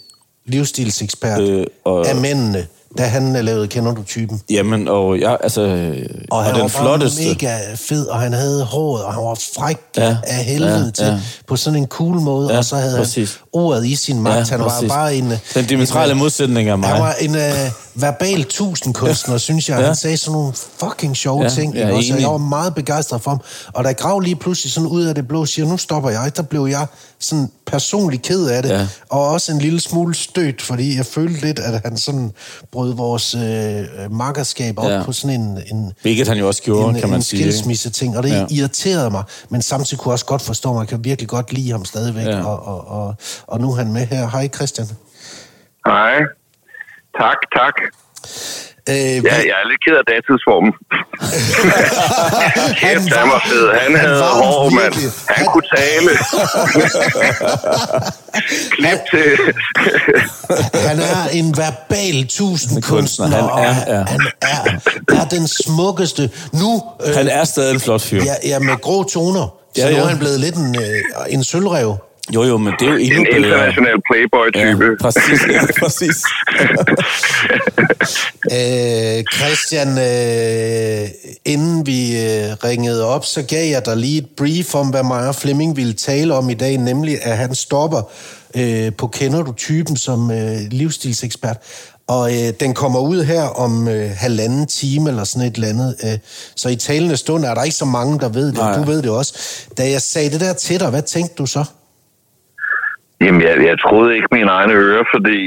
livsstilsekspert øh, Øh, og... og- af mændene, da han lavede Kender du typen? Jamen, og jeg, altså... øh, Og han og den var flotteste. flotteste. mega fed, og han havde håret, og han var fræk ja, Ja, af helvede ja, ja, til, ja. på sådan en cool måde, ja, Ja, og så havde præcis. han ordet i sin magt. Ja, han var præcis. bare en... Den diametrale en- modsætning af mig. Han var en øh, verbal tusindkunstner, synes jeg. Ja. Han sagde sådan nogle fucking sjove ja, Ja, ting, jeg ja, er også, og jeg enig. var meget begejstret for ham. Og da Grav lige pludselig sådan ud af det blå siger, nu stopper jeg, der blev jeg sådan personligt ked af det, ja. Ja. og også en lille smule stødt, fordi jeg følte lidt, at han sådan brød vores øh, makkerskab op ja. Ja. på sådan en, en, Hvilket han jo også gjorde, en, kan man en sige, ikke? skilsmisse-ting, og det ja. Ja. irriterede mig, men samtidig kunne jeg også godt forstå, at man kan virkelig godt lide ham stadigvæk, ja. Ja. og, og, og, og nu er han med her. Hej Christian. Hej. Tak, tak. Øh, ja, Ja, jeg er lidt ked af datidsformen. Kæft, han var fed. Han havde var hår, mand. virkelig- Han kunne tale. Klip til. Han er en verbal tusindkunstner. Han er- og ja. Han er, er den smukkeste. Nu, øh, Han er stadig en flot fyr. ja, ja, med grå toner, så Ja, nu er ja. han blevet lidt en, øh, en sølvrev. Jo, jo, men det er jo endnu en bedre. international playboy-type. Ja, præcis, ja, præcis. Øh, Christian, øh, inden vi øh, ringede op, så gav jeg dig lige et brief om, hvad mig og Flemming ville tale om i dag, nemlig at han stopper øh, på Kender du typen som øh, livsstilsekspert. Og øh, den kommer ud her om øh, halvanden time eller sådan et eller andet. Øh, så i talende stund er der ikke så mange, der ved det. Nej. Du ved det også. Da jeg sagde det der til dig, hvad tænkte du så? Jamen, jeg, jeg troede ikke mine egne ører, fordi...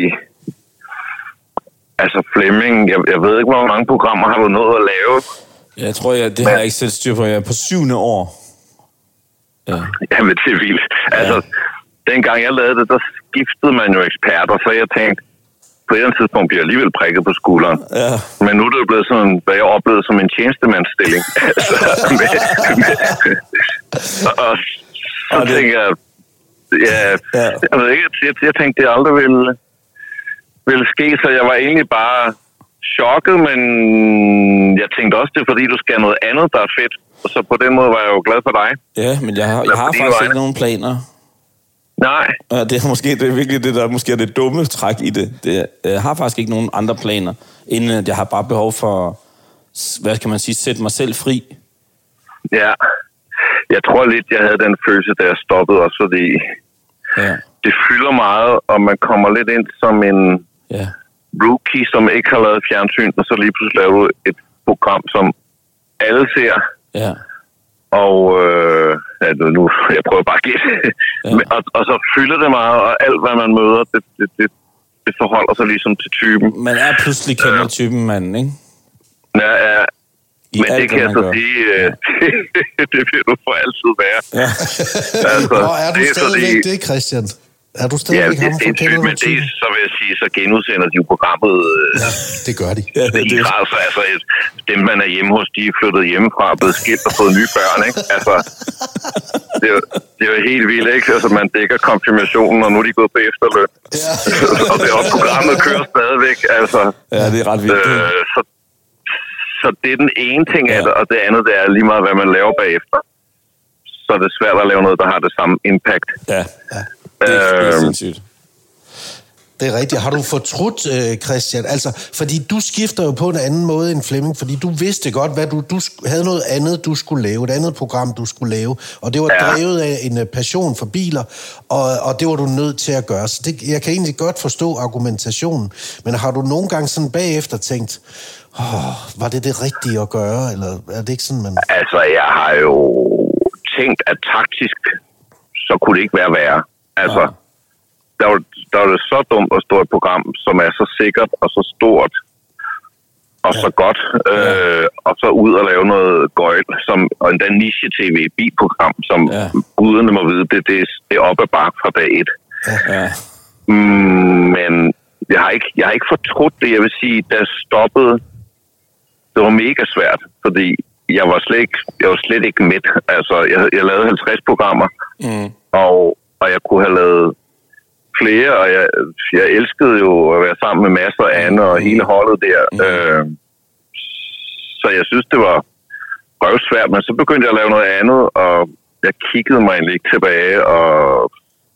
Altså, Flemming, jeg, jeg ved ikke, hvor mange programmer har du nået at lave. Jeg tror, jeg, det har jeg ikke selv styr på. Jeg er på syvende år. Ja. Jamen, det er vildt. Altså, dengang jeg lavede det, der skiftede man jo eksperter, så jeg tænkte, på et eller andet tidspunkt bliver jeg alligevel prikket på skulderen. Ja. Men nu er det jo blevet sådan, hvad jeg oplevede som en tjenestemandsstilling. altså, med, med, og så Og det- tænker jeg, ja, Ja. jeg ved ikke, jeg, jeg tænkte, det aldrig ville, ville ske, så jeg var egentlig bare chokket, men jeg tænkte også, det er fordi, du skal have noget andet, der er fedt. Og så på den måde var jeg jo glad for dig. Ja, men jeg har, jeg Lad har på dine faktisk ikke vegne. nogen planer. Nej, Ja, det er måske det er virkelig det, der måske er det dumme træk i det. det er- jeg har faktisk ikke nogen andre planer, inden at jeg har bare behov for, s- hvad skal man sige, sætte mig selv fri. ja. Jeg tror lidt, jeg havde den følelse, da jeg stoppede også, fordi Ja, det fylder meget, og man kommer lidt ind som en ja. rookie, som ikke har lavet fjernsyn, og så lige pludselig laver du et program, som alle ser, ja. og øh, ja, nu, nu, jeg prøver bare at gætte, Ja. ja. og, og så fylder det meget, og alt, hvad man møder, det, det, det, det forholder sig ligesom til typen. Man er pludselig kendt typen manden, ikke? Ja, ja. I Men det kan jeg man så gør. sige, øh, det vil du for altid være. Ja. Altså, Nå, er du det er stadigvæk fordi- det, Christian? Er du Ja, stadigvæk det ham er fra sindssygt, men det, Kender er- så vil jeg sige, så genudsender de jo programmet øh, Det gør de. Ja, det, det, det. det, Grad, så altså, et, dem, man er hjemme hos, de er flyttet hjemmefra, er blevet skilt og fået nye børn, ikke? Altså, det er, jo, det er jo helt vildt, ikke? Altså, man dækker konfirmationen, og nu er de gået på efterløn. Ja. og det, og programmet kører stadigvæk, altså. ja, det er ret vildt. det. Øh, så, så det er den ene ting af det, og det andet, det er lige meget, hvad man laver bagefter. Så er det svært at lave noget, der har det samme impact. Ja. Det er, det er Øh, sindssygt. Det er rigtigt. Har du fortrudt, øh, Christian? Altså, fordi du skifter jo på en anden måde end Flemming, fordi du vidste godt, hvad du, du sk- havde noget andet, du skulle lave, et andet program, du skulle lave, og det var ja. Ja. drevet af en øh, passion for biler, og, og det var du nødt til at gøre. Så det, jeg kan egentlig godt forstå argumentationen, men har du nogle gange sådan bagefter tænkt, oh, var det det rigtige at gøre, eller er det ikke sådan, man... Altså, jeg har jo tænkt, at taktisk, så kunne det ikke være værre. Altså, Nej. der, var, der var det så dumt at stå i et program, som er så sikkert og så stort og så godt, øh, og så ud og lave noget gøjl, som, og endda niche-tv, bilprogram, som Ja. ja. guderne må vide, det, det, er- det er op ad bakke fra dag et. Ja. Mm, men jeg har, ikke, jeg har ikke fortrudt det. Jeg vil sige, da jeg stoppede, det var mega svært, fordi jeg var slet ikke, jeg var slet ikke med. Altså, jeg, jeg lavede 50 programmer, Mm. og, og jeg kunne have lavet flere, og jeg, jeg elskede jo at være sammen med masser af andre og hele holdet der. Mm. Øh, så jeg synes, det var røvsvært, men så begyndte jeg at lave noget andet, og jeg kiggede mig egentlig ikke tilbage, og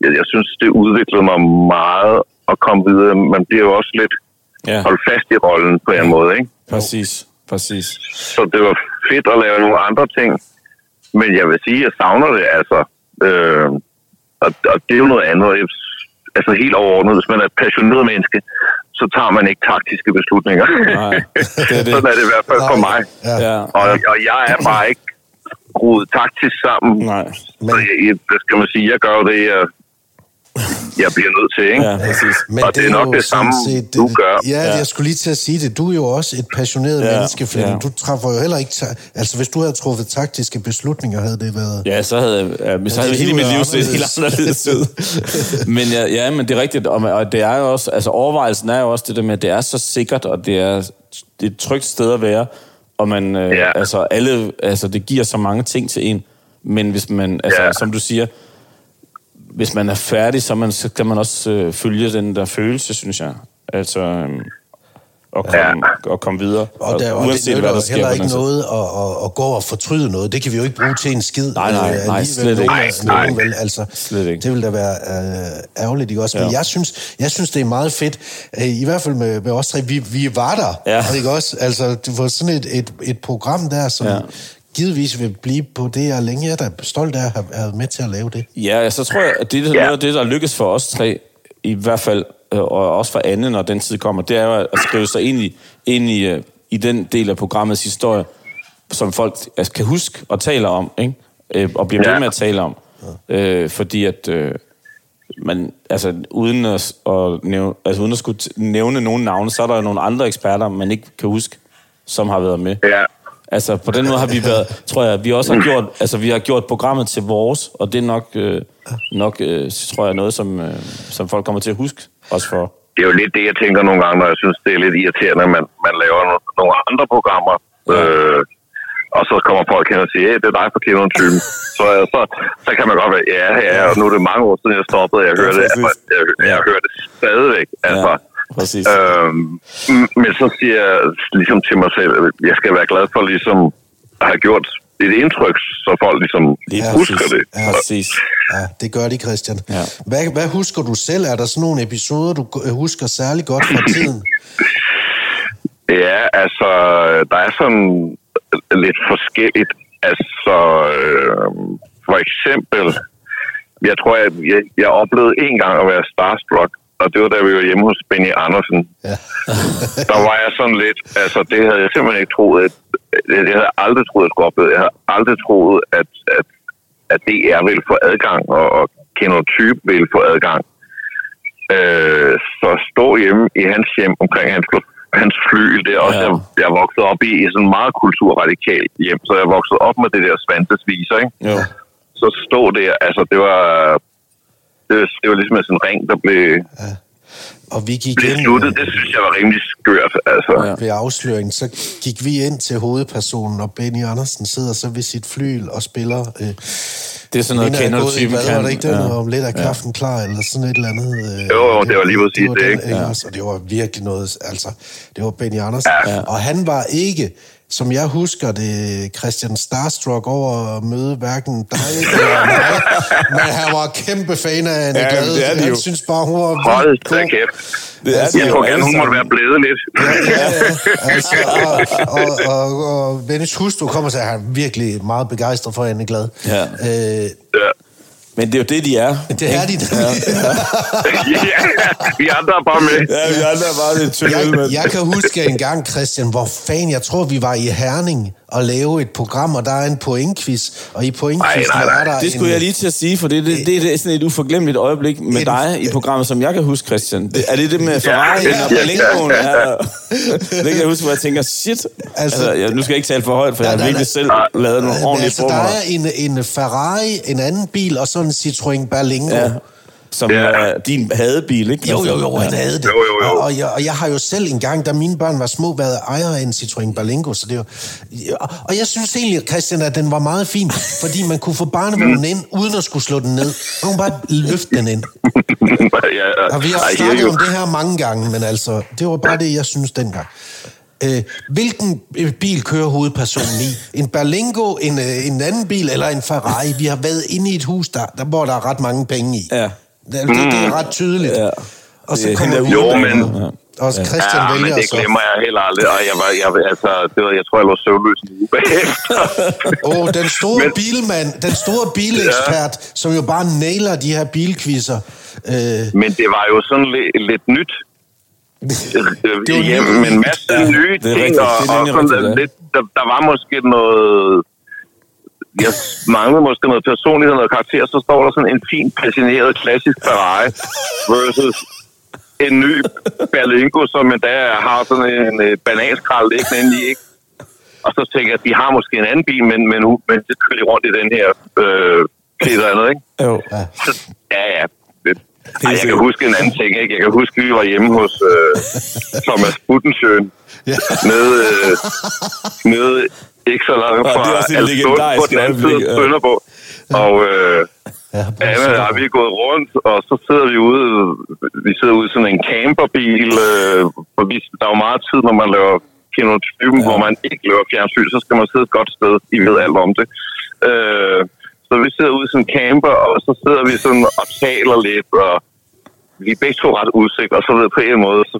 jeg, jeg synes, det udviklede mig meget at komme videre. Man bliver jo også lidt Ja, holdt fast i rollen på en eller anden måde, ikke? præcis. Præcis. Så det var fedt at lave nogle andre ting. Men jeg vil sige, at jeg savner det, altså. Øh, og, og det er jo noget andet. Jeg, altså helt overordnet, hvis man er et passioneret menneske, så tager man ikke taktiske beslutninger. Nej, det er det. Sådan er det i hvert fald for mig. Ja. Ja. Og, og jeg er bare ikke rodet taktisk sammen. Nej. Men... Så jeg, jeg- hvad skal man sige? Jeg gør jo det, jeg, jeg bliver nødt til, ikke? Ja, præcis. Øh, Men Og det er jo nok det sådan samme, du gør. Ja, Ja. ja, jeg skulle lige til at sige det. Du er jo også et passioneret Ja, ja, menneske, Flemming. ja. Ja. Du træffer jo heller ikke... Ta- altså, hvis du havde truffet taktiske beslutninger, havde det været... Ja, så havde, jeg- ja, men så Ja, havde dit hele liv mit er liv set helt anderledes. anderledes ud. men ja, ja, men det er rigtigt. Og, man- og det er jo også, altså overvejelsen er jo også det der med, at det er så sikkert, og det er, det er et trygt sted at være. Og man, øh, Ja. altså, alle, altså, det giver så mange ting til en. Men hvis man, altså, Ja. som du siger, hvis man er færdig, så, er man, så kan man også øh, følge den der følelse, synes jeg. Altså, øh, og komme, ja. og komme videre. Og, der, og det uanset nytter hvad der jo sker. heller på ikke den side. noget at, at, at gå og fortryde noget. Det kan vi jo ikke bruge til en skid. Nej, nej, øh, nej, alligevel. slet ikke. Nogen- Nej, nej. nogen Vel, altså, Slet ikke. Det ville da være øh, ærgerligt, ikke også? Men Ja. jeg, synes, jeg synes, det er meget fedt. Øh, I hvert fald med, med os tre. Vi, vi var der, Ja. ikke også? Altså, du får sådan et, et, et program der, som Ja. ja. givetvis vil blive på det, jeg længe jeg er da stolt af at have været med til at lave det. Ja, så tror jeg, at det er Ja. noget af det, der lykkes for os tre, i hvert fald, øh, og også for Anne, når den tid kommer, det er jo at skrive sig ind i, ind i, øh, i den del af programmets historie, som folk altså, kan huske og taler om, ikke? Øh, og bliver ved Ja. med at tale om. Øh, fordi at øh, man, altså, uden at, at nævne, altså, uden at skulle t- nævne nogle navne, så er der jo nogle andre eksperter, man ikke kan huske, som har været med. Ja. Mm. Altså, på den måde har vi været, tror jeg, vi også har gjort, altså, vi har gjort programmet til vores, og det er nok, øh, nok øh, tror jeg, noget, som, øh, som folk kommer til at huske os for. det er jo lidt det, jeg tænker nogle gange, når jeg synes, det er lidt irriterende, at man, man laver no- nogle andre programmer, øh, og så kommer folk hen og siger, hey, det er dig fra Kindertypen. så, øh, så, så kan man godt være, ja, ja, og nu er det mange år siden, jeg stoppede, jeg hører det, altså, jeg, jeg hører det stadigvæk. Altså, præcis. Øhm, m- men så siger jeg ligesom til mig selv, at jeg skal være glad for ligesom at have gjort et indtryk, så folk ligesom Lige husker præcis. det. Ja. Præcis. Ja, det gør de, Christian. Ja. Ja. Hvad, hvad husker du selv? Er der sådan nogle episoder, du øh, husker særlig godt fra tiden? Ja, altså, der er sådan lidt forskelligt. Altså, øh, for eksempel, jeg tror, jeg, jeg, jeg oplevede en gang at være starstruck, og det var da vi var hjemme hos Benny Andersen. Ja. Der var jeg sådan lidt, altså det havde jeg simpelthen ikke troet, at, jeg jeg havde aldrig troet, at jeg skulle opleve. Jeg havde aldrig troet, at, at, at DR ville få adgang, og, og Kender Type ville få adgang øh, så stå hjemme i hans hjem omkring hans, hans flyl. Det er også, Ja. ja. jeg, jeg voksede op i, i sådan en meget kulturradikal hjem, så jeg voksede op med det der svantesviser, ikke? Jo. Så stå der, altså det var... Det, var- det var ligesom sådan en ring, der blev, Og vi gik blev ind sluttet. Det synes jeg var rimelig skørt, altså. Ja. Ja. ved afsløringen, så gik vi ind til hovedpersonen, og Benny Andersen sidder så ved sit flyl og spiller... Øh, Det er sådan noget, Inden jeg kender er du gået i typen bad, Var det ikke det, Ja. ja. om lidt er kaffen ja. klar, eller sådan et eller andet? Øh, Jo, jo, det var lige præcis var det, den, ikke? også? Og det var virkelig noget, altså, det var Benny Andersen. Ja. Og han var ikke, som jeg husker det, Christian Starstruck over at møde hverken dig eller mig, men han var kæmpe fan af Anne Ja, ja, det Glade. er de Han jo. synes bare, hun var Hold vildt da god. kæft. Det Altså, er Jeg det tror jo gerne, alle hun måtte sammen. være blevet lidt. Ja, ja, altså, og, og, og, og Dennis Hustru kommer og siger, at han er virkelig meget begejstret for Anne Glad. Ja. Øh, Ja. Men det er jo det, de er. det er de der. ja, vi andre er bare med. Ja, vi andre er bare lidt tynde, Jeg, men... jeg kan huske en gang, Christian, hvor fan, jeg tror, vi var i Herning og lave et program, og der er en pointquiz, og i pointquizen Ej, nej, nej. er der Det skulle en, jeg lige til at sige, for det, det, det, det er sådan et uforglemmeligt øjeblik med En- dig i programmet, som jeg kan huske, Christian. Det, er det det med Ferrari ja, og ja, Berlingoen? ja, ja. Ja, Det kan jeg huske, hvor jeg tænker, shit. Altså, jeg, nu skal jeg ikke tale for højt, for jeg har nej, virkelig nej. selv Nej. lavet nogle Men ordentlige altså, der former. er en, en Ferrari, en anden bil, og sådan en Citroën Berlingo. Ja, som Ja. er din hadebil, ikke? Altså, Jo, jo, jo, han Ja. havde det. Jo, jo, jo. Og, og, jeg, og jeg har jo selv engang, da mine børn var små, været ejer af en Citroën Berlingo, så det var, og, og jeg synes egentlig, Christian, at den var meget fin, fordi man kunne få Mm. barnevognen ind, uden at skulle slå den ned. Man kunne bare løfte den ind. ja, Og vi Ej, har jeg er snakket jo- om det her mange gange, men altså, det var bare det, jeg synes dengang. Øh, hvilken øh, bil kører hovedpersonen i? En Berlingo, en, øh, en anden bil eller en Ferrari? Vi har været inde i et hus, der, der, hvor der er ret mange penge i. Ja. Det, altså, det, det Mm. er ret tydeligt. Ja. Og så Det er kommer hende vi der Jo, ud, men- og Christian Ja, men vælger det så. glemmer jeg heller aldrig. Og jeg, var, jeg, altså, det var, jeg tror, jeg lå søvnløs en uge bagefter. Åh, oh, den store men... Men- bilmand, den store bilekspert, ja. som jo bare nailer de her bilquizzer. Øh, Men det var jo sådan lidt, lidt nyt. Det var Hjem, nyt. men en masse Ja, nye det er ting, rigtigt. og, Det er og nemlig sådan rigtigt, ja. lidt, der, der var måske noget... Jeg manglede måske noget personlighed og noget karakter, så står der sådan en fin, passioneret, klassisk Ferrari versus en ny Berlingo, som endda har sådan en øh, bananskrald liggende inde i, ikke? Og så tænker jeg, at de har måske en anden bil, men, men, men det kører de rundt i den her øh, et eller andet, ikke? Jo. ja. Så- Ja, ja. Det- Ej, jeg kan sikkert. huske en anden ting, ikke? Jeg kan huske, vi var hjemme hos øh, Thomas Buttensjøen. Ja. Nede, øh, nede ikke så langt Ja, det er fra også et Alstund på legendarisk den anden side øjeblik, af ja. Sønderborg. Og øh, Ja, Anna og jeg, vi er gået rundt, og så sidder vi ude, vi sidder ude i sådan en camperbil, øh, for vi, der er jo meget tid, når man laver kinotypen, ja. hvor man ikke laver fjernsyn, så skal man sidde et godt sted, I ved alt om det. Øh, så vi sidder ude i sådan en camper, og så sidder vi sådan og taler lidt, og vi er begge to ret udsigt, og så ved på en måde, så,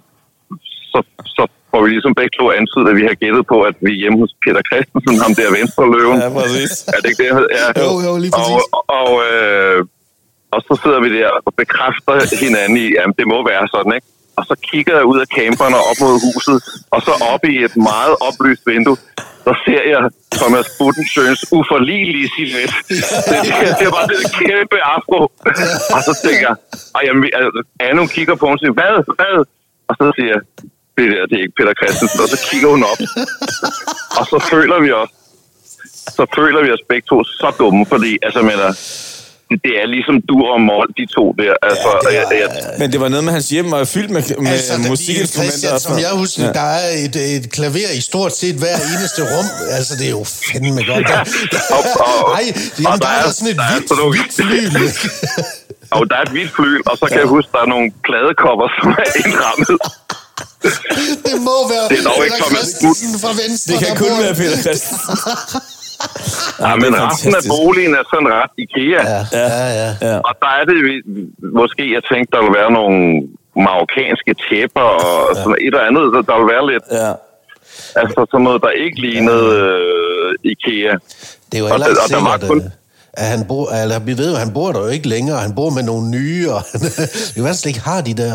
så, så får vi ligesom begge to antydet, at vi har gættet på, at vi er hjemme hos Peter Christensen, ham der venstre løven. Ja, præcis. Er det ikke det, han hed? Ja. Jo, jo, lige og, præcis. og, og, øh, og så sidder vi der og bekræfter hinanden i, at det må være sådan, ikke? Og så kigger jeg ud af camperen og op mod huset, og så op i et meget oplyst vindue, der ser jeg Thomas Buttensøens uforligelige silhuet. Det, det, det var det kæmpe afro. Og så tænker jeg, og jeg, altså, Anne hun kigger på mig og siger, hvad, hvad? Og så siger jeg, det der, det er ikke Peter Christensen. Og så kigger hun op. Og så føler vi os så føler vi os begge to så dumme, fordi altså, mener, det er ligesom dur og mål, de to der. Altså, det er- jeg, jeg, Men det var noget med, at hans hjem var fyldt med, med Altså, altså, der- musikinstrumenter. Christian, og sådan som jeg noget. husker, ja. der er et, et klaver i stort set hver eneste rum. Altså, det er jo fandme godt. Der, Og- og- Ej, jamen, der, der er, er- der sådan et der er hvidt, sådan nogle- hvidt flyn. ikke? og der er et hvidt flyl, og så kan ja. jeg huske, der er nogle pladekopper, som er indrammet. Det må være Det er dog ikke Peter kommet Christensen fra Venstre, Det kan der kun bor- være Peter Christensen. Ja, Ej, det men er resten af fantastisk. boligen er sådan ret IKEA. Ja. Ja, ja, ja. Ja. Og der er det vi- måske, jeg tænkte, der ville være nogle marokkanske tæpper og ja. sådan et eller andet. så Der ville være lidt, Ja. altså sådan noget, der ikke lignede øh, IKEA. Det er jo Og heller der- ikke og der var sikkert, kun- øh, at han bor, eller vi ved jo, han bor der jo ikke længere, han bor med nogle nye, og det kan være, han slet ikke har de der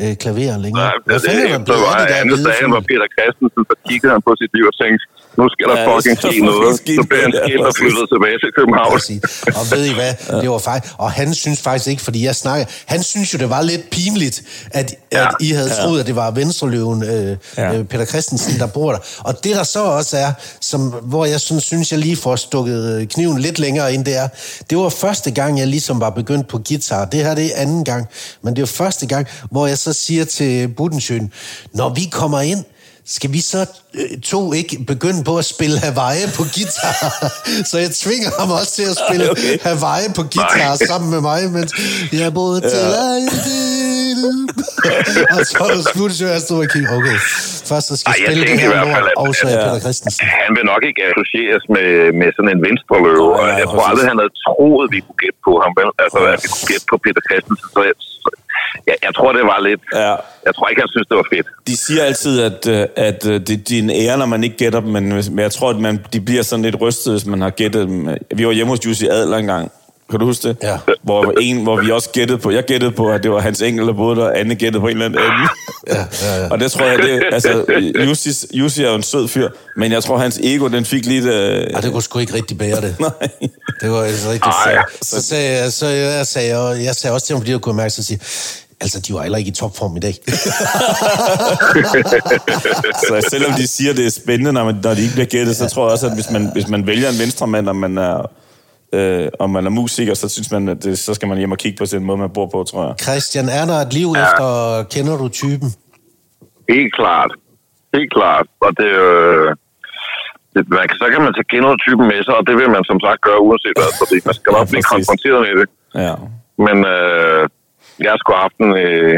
øh, klaverer længere. Nej, Hvad fanden er der det blevet var af de der andet hvide dagen, fugle? hvor Peter Christensen, så kiggede han på sit liv og tænkte, nu skal der Ja, ja, nu fucking skal ske der fucking noget. ske Så blev han noget, ja, skilt og præcis. flyttede tilbage til København. Præcis. Og ved I hvad, det var faktisk, og han synes faktisk ikke, fordi jeg snakker, han synes jo, det var lidt pinligt, at, ja. at I havde troet, at det var Venstreløven øh, Ja. ja. Peter Christensen, der bor der. Og det der så også er, som, hvor jeg sådan, synes, jeg lige får stukket øh, kniven lidt længere ind, det er, det var første gang, jeg ligesom var begyndt på guitar. Det her, det er anden gang, men det er første gang, hvor jeg så siger til Budensjøen, når vi kommer ind, skal vi så øh, to ikke begynde på at spille Hawaii på guitar? så jeg tvinger ham også til at spille okay. Okay. Hawaii på guitar Nej. sammen med mig, mens jeg boede til Ejden. og så er det slut, så jeg stod og kiggede, okay, først så skal Ej, jeg jeg spille det tænkte i her hvert fald, lort, at- og så er jeg Ja. Peter Christensen. Han vil nok ikke associeres med, med sådan en venstreløve, Nej, og nej, jeg tror præcis. aldrig, han havde troet, vi kunne gætte på ham. Vel? Altså, at vi kunne gætte på Peter Christensen. Så jeg, så- jeg, jeg tror, det var lidt... Ja. Jeg tror ikke, han synes, det var fedt. De siger altid, at, øh, at øh, det det er en ære, når man ikke gætter dem, men, hvis- men jeg tror, at man, de bliver sådan lidt rystet, hvis man har gættet dem. Vi var hjemme hos Jussi Adler engang. Kan du huske det? Ja. Hvor, en, hvor vi også gættede på, jeg gættede på, at det var hans enkel, der boede der, og Anne gættede på en eller anden anden. Ja, ja, ja. Og det tror jeg, det, altså, Jussi, Jussi er jo en sød fyr, men jeg tror, hans ego, den fik lidt... Øh, Og det kunne sgu ikke rigtig bære det. nej. Det var altså rigtig Ej, fedt. altså. Så sagde jeg, så jeg, sagde, og jeg sagde også til ham, fordi jeg kunne mærke, så sige, altså, de var heller ikke i topform i dag. Så selvom de siger, det er spændende, når, man, når de ikke bliver gættet, så tror jeg også, at hvis man, hvis man vælger en venstremand, og man er, øh, og man er musiker, så synes man, at det, så skal man hjem og kigge på den måde, man bor på, tror jeg. Christian, er der et liv efter, kender du typen? Helt klart. Helt klart. Og det, øh, det man, kan- så kan man tage genotypen med sig, og det vil man som sagt gøre uanset hvad, fordi man skal Ja, nok blive præcis. konfronteret med det. Ja. Men øh, jeg har sgu haft en, øh,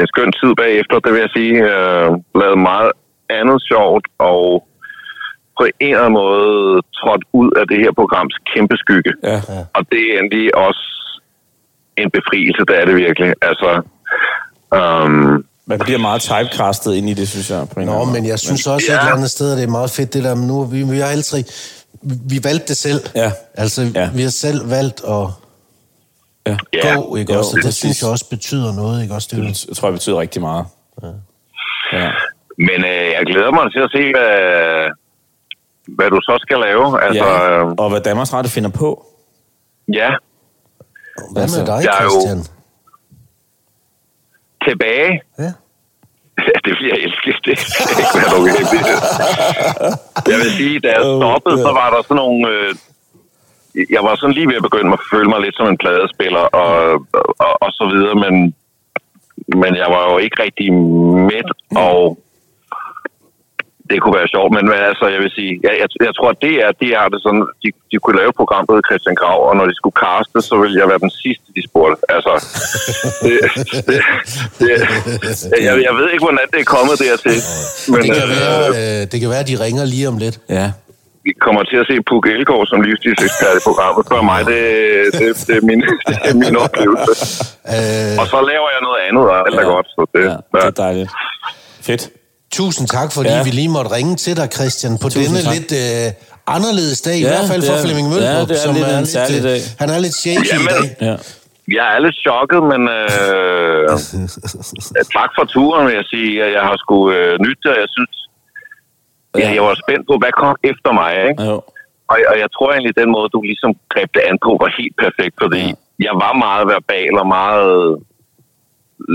en skøn tid bagefter, det vil jeg sige. Øh, lavet meget andet sjovt, og på en eller anden måde trådt ud af det her programs kæmpe skygge. Ja. Og det er endelig også en befrielse, det er det virkelig. Altså, øhm, Man bliver meget typecastet ind i det, synes jeg. På en Nå, eller anden men måde. jeg synes også ja. et Ja. eller andet sted, at det er meget fedt det der, men nu er vi, vi har alle tre, vi valgte det selv. Ja. Altså, Ja. ja. vi har selv valgt at Ja. ja, gå, ikke Jo, også? Og det præcis. synes jeg også betyder noget, ikke også? Det er jo- Det tror jeg betyder rigtig meget. Ja. Men øh, jeg glæder mig til at se, hvad, hvad du så skal lave. Ja. Altså, ja. øh, Og hvad Danmarks Radio finder på. ja, Hvad med dig, jeg er jo- Christian? tilbage. Ja. Ja, det bliver jeg elske. Det kan ikke være nogen hemmelighed. Jeg vil sige, da jeg stoppede, så var der sådan nogle... Øh, jeg var sådan lige ved at begynde at føle mig lidt som en pladespiller og, og, og så videre, men, men jeg var jo ikke rigtig mæt, og det kunne være sjovt, men hvad altså, jeg vil sige, jeg, jeg, jeg tror, det er, de har det sådan, de, de kunne lave et program, der hed Christian Grav, og når de skulle kaste, så ville jeg være den sidste, de spurgte. Altså, det, det, det, jeg, jeg ved ikke, hvordan det er kommet dertil. Men, Det kan, øh, være, øh, det kan være, at de ringer lige om lidt. Ja. vi kommer til at se Puk Elgård som livsstilsekspert i programmet. For mig, det, det, det, er min, det er min oplevelse. Øh, Og så laver jeg noget andet, og alt er Ja. godt. Så det, ja. Det ja. er dejligt. Fedt. tusind tak, fordi Ja. ja. vi lige måtte ringe til dig, Christian, på Tusind denne tak. lidt øh, anderledes dag, ja, i hvert fald det for er- Flemming Møllerup, ja, det er lidt en særlig øh, dag. han er lidt shaky i Jamen. dag. Ja. Jeg er lidt chokket, men øh, ja, tak for turen, vil jeg sige. Jeg, jeg har sgu øh, nyt, og jeg synes, ja, jeg var spændt på, hvad kom efter mig. Ikke? Jo. Og, og jeg tror egentlig, den måde, du ligesom greb det an på, var helt perfekt, fordi Ja. jeg var meget verbal og meget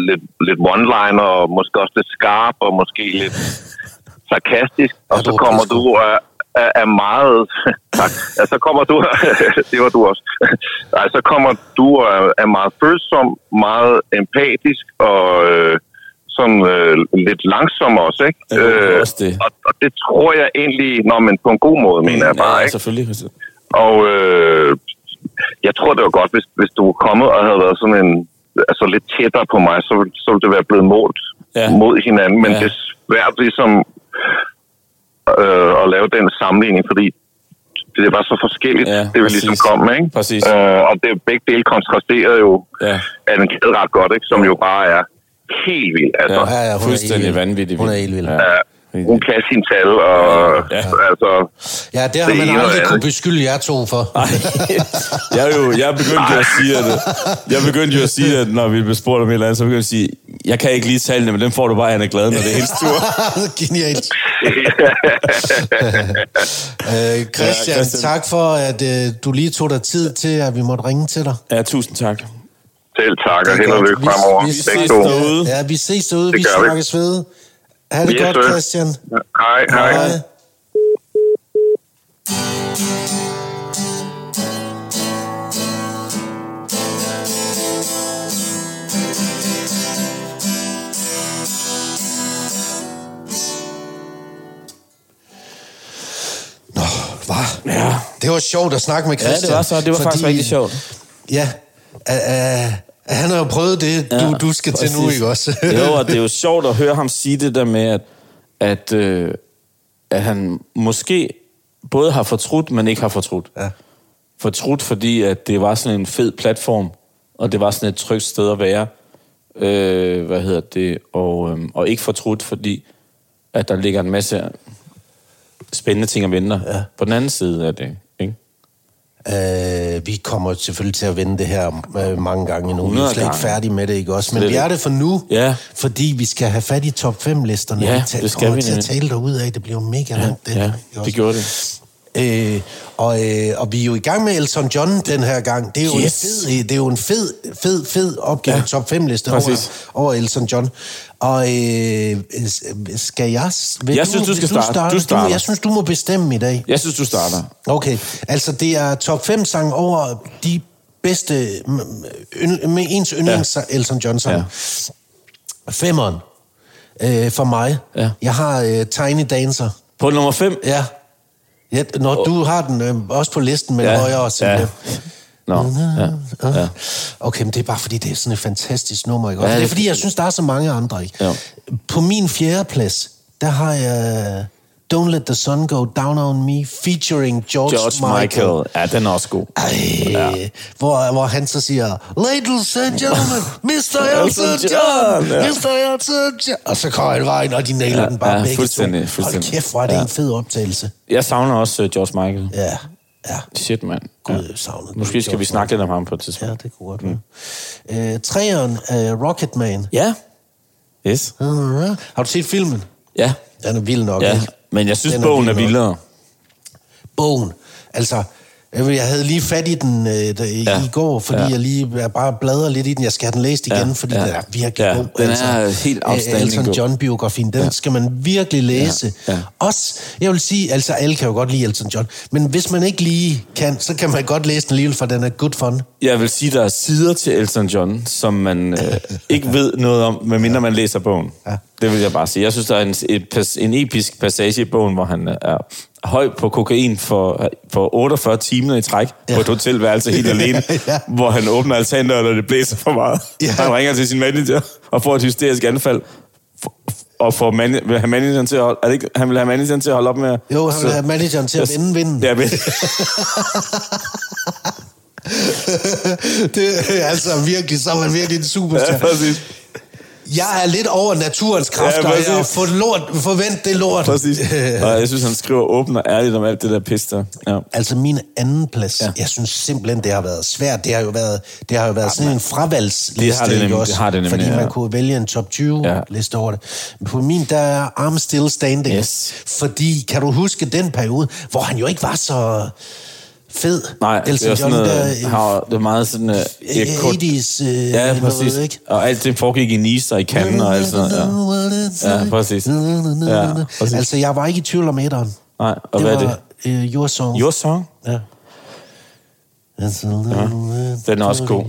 lidt, lidt one-liner, og måske også lidt skarp, og måske lidt sarkastisk, og Ja, så du var kommer pissegod. du og er- er, er meget... tak. Ja, så kommer du... det var du også. Nej, så kommer du og er, er meget følsom, meget empatisk og øh, sådan øh, lidt langsom også, ikke? Øh, Ja, det er også det. Og, og det tror jeg egentlig... Nå, men på en god måde, mener jeg bare, ja, ikke? selvfølgelig. Og øh, jeg tror, det var godt, hvis, hvis du var kommet og havde været sådan en, altså lidt tættere på mig, så, ville- så ville det være blevet målt Ja. ja. mod hinanden. Men Ja. ja. det er svært ligesom øh, at lave den sammenligning, fordi det var så forskelligt, Ja, ja, det vi ligesom præcis. kom med. Ikke? Præcis. Øh, og det, begge dele kontrasterede jo Ja. ja. af den kæde ret godt, ikke? som jo bare er helt vildt. Altså, Ja, ja, hun er fuldstændig helt vild. vanvittig. Hun er helt vild. Ja. Hun kan sine tal, og Ja. ja. altså, Ja, det har Det man ene og aldrig andet. kunne beskylde jer to for. jeg, er jo, jeg begyndte jo at sige, at, jeg begyndte jo at sige, at når vi blev spurgt om et eller andet, så begyndte jeg at sige, jeg kan ikke lige tallene, men dem får du bare, han er glad, når det er hendes tur. Genialt. Øh, Christian, Christian. tak for, at øh, du lige tog dig tid til, at vi måtte ringe til dig. Ja, tusind tak. selv tak, og Det er held og godt. lykke Vi- fremover. vi Begge ses to. derude. derude. Ja, vi ses derude. Det Vi gør vi. snakkes ved. Ha' det Yes, godt, sir. Christian. Hej, hej. Hej. Nå, hva? Ja, Det var sjovt at snakke med ja Christian. det var så. Det var faktisk rigtig sjovt. Ja, øh, øh, han har jo prøvet det, du, Ja, du skal til nu, præcis. ikke også? jo, og det er jo sjovt at høre ham sige det der med, at, at, øh, at han måske både har fortrudt, men ikke har fortrudt. Ja. Fortrudt, fordi at det var sådan en fed platform, og det var sådan et trygt sted at være. Øh, hvad hedder det? Og, øh, og ikke fortrudt, fordi at der ligger en masse spændende ting at vente. Ja. På den anden side af det, ikke? Øh, vi kommer jo selvfølgelig til at vende det her øh, mange gange endnu. Vi 100 er slet ikke gange. færdige med det, ikke også? Men Slet vi er ikke. det for nu, Ja. fordi vi skal have fat i top 5-listerne. Ja, vi ta- det skal kommer vi til at nemlig. tale derud af. Det bliver jo mega langt, det ja, her, det ikke også? gjorde det. Øh, og, øh, og vi er jo i gang med Elton John den her gang. Det er jo Yes. en fed, øh, det er jo en fed, fed, fed opgave, Ja, ja, top 5-liste præcis. over, over Elton John. Og øh, s- skal jeg... s- Vil Jeg synes, du vil skal starte. Du starter. Du, jeg synes, du må bestemme i dag. Jeg synes, du starter. Okay, altså det er top 5 sang over de bedste, m- ynd- med ens yndlings ja. Elton John sang. Ja. Ja. Femmeren, øh, for mig. Ja. Jeg har øh, Tiny Dancer. På nummer 5? Ja. ja når du har den øh, også på listen, men Ja, ja. højere ja. simpelthen. Nå, ja. Ja. Okay, men det er bare fordi, det er sådan et fantastisk nummer, ikke? Ja, Ja, det er det- fordi, jeg synes, der er så mange andre, ikke? Ja. På min fjerde plads, der har jeg Don't Let the Sun Go Down on Me, featuring George, George Michael. Michael. Ja, den er også god. Ej, ja. hvor, hvor han så siger, Ladies and gentlemen, Mr. Elton Elton John, John, ja. Mr. Elton John. Og så kommer han vejen, og de nailer Ja, den bare ja, begge fuldstændig, to. fuldstændig. Hold kæft, hvor er det Ja. en fed optagelse. Jeg savner også øh, George Michael. Ja. Ja, ja. Shit, mand. Gud, jeg savner den. Måske skal vi snakke Mm. lidt om ham på et Ja, tidspunkt. det kunne godt være. Øh, træeren, øh, Rocketman. Ja. Yes. Mhm. Har du set filmen? Ja. Den er vild nok, Ja, ikke? men jeg synes, Den er bogen er vild vildere. nok. Bogen. Altså, jeg ved, jeg havde lige fat i den øh, der, Ja. ja. i går, fordi Ja. ja. jeg lige jeg bare bladrer lidt i den. Jeg skal have den læst igen, Ja. ja. fordi Ja. ja. den er virkelig Ja. god. Den er helt øh, outstanding god. Elton John-biografien, den ja. skal man virkelig læse. Ja. Ja. Ja. Ja. Også, jeg vil sige, altså alle kan jo godt lide Elton John, men hvis man ikke lige kan, så kan man godt læse den alligevel, for den er good fun. Jeg vil sige, der er sider til Elton John, som man øh, ikke ved noget om, medmindre man læser bogen. Ja. Det vil jeg bare sige. Jeg synes, der er en, et, pas- en episk passage i bogen, hvor han er høj på kokain for, for 48 timer i træk ja. på et hotelværelse helt alene, ja. Ja. hvor han åbner altandøren, og det blæser for meget. Ja. Ja. Han ringer til sin manager og får et hysterisk anfald. For- Og får man, vil have manageren til at holde, er det ikke, han vil have manageren til at holde op med... at- Jo, han vil have manageren til at Jeg- vinde vinden. Ja, men, det er altså virkelig, så er man virkelig en ja, superstar. præcis. Jeg er lidt over naturens kræfter, Ja, ja, præcis. og jeg får lort, forvent det lort. Præcis. Og jeg synes, han skriver åbent og ærligt om alt det der pis der. Ja. Altså min anden plads, ja. jeg synes simpelthen, det har været svært. Det har jo været, det har jo været sådan en fravalgsliste, Det har det ikke nemlig- også? det har det nemlig, fordi ja. man kunne vælge en top 20 Ja. ja. liste over det. Men På min, der er I'm Still Standing. Yes. Fordi, kan du huske den periode, hvor han jo ikke var så fed? Nej, det er sådan noget, der, har, det er meget sådan... Uh, øh, 80's, øh, ja, noget, præcis. ikke? Og alt det foregik i Nice og i Cannes og alt sådan noget. Ja. Ja, præcis. Ja, præcis. Altså, jeg var ikke i tvivl om etteren. Nej, og hvad er det? var uh, Your Song. Your Song? Ja. It's a little Den er også god.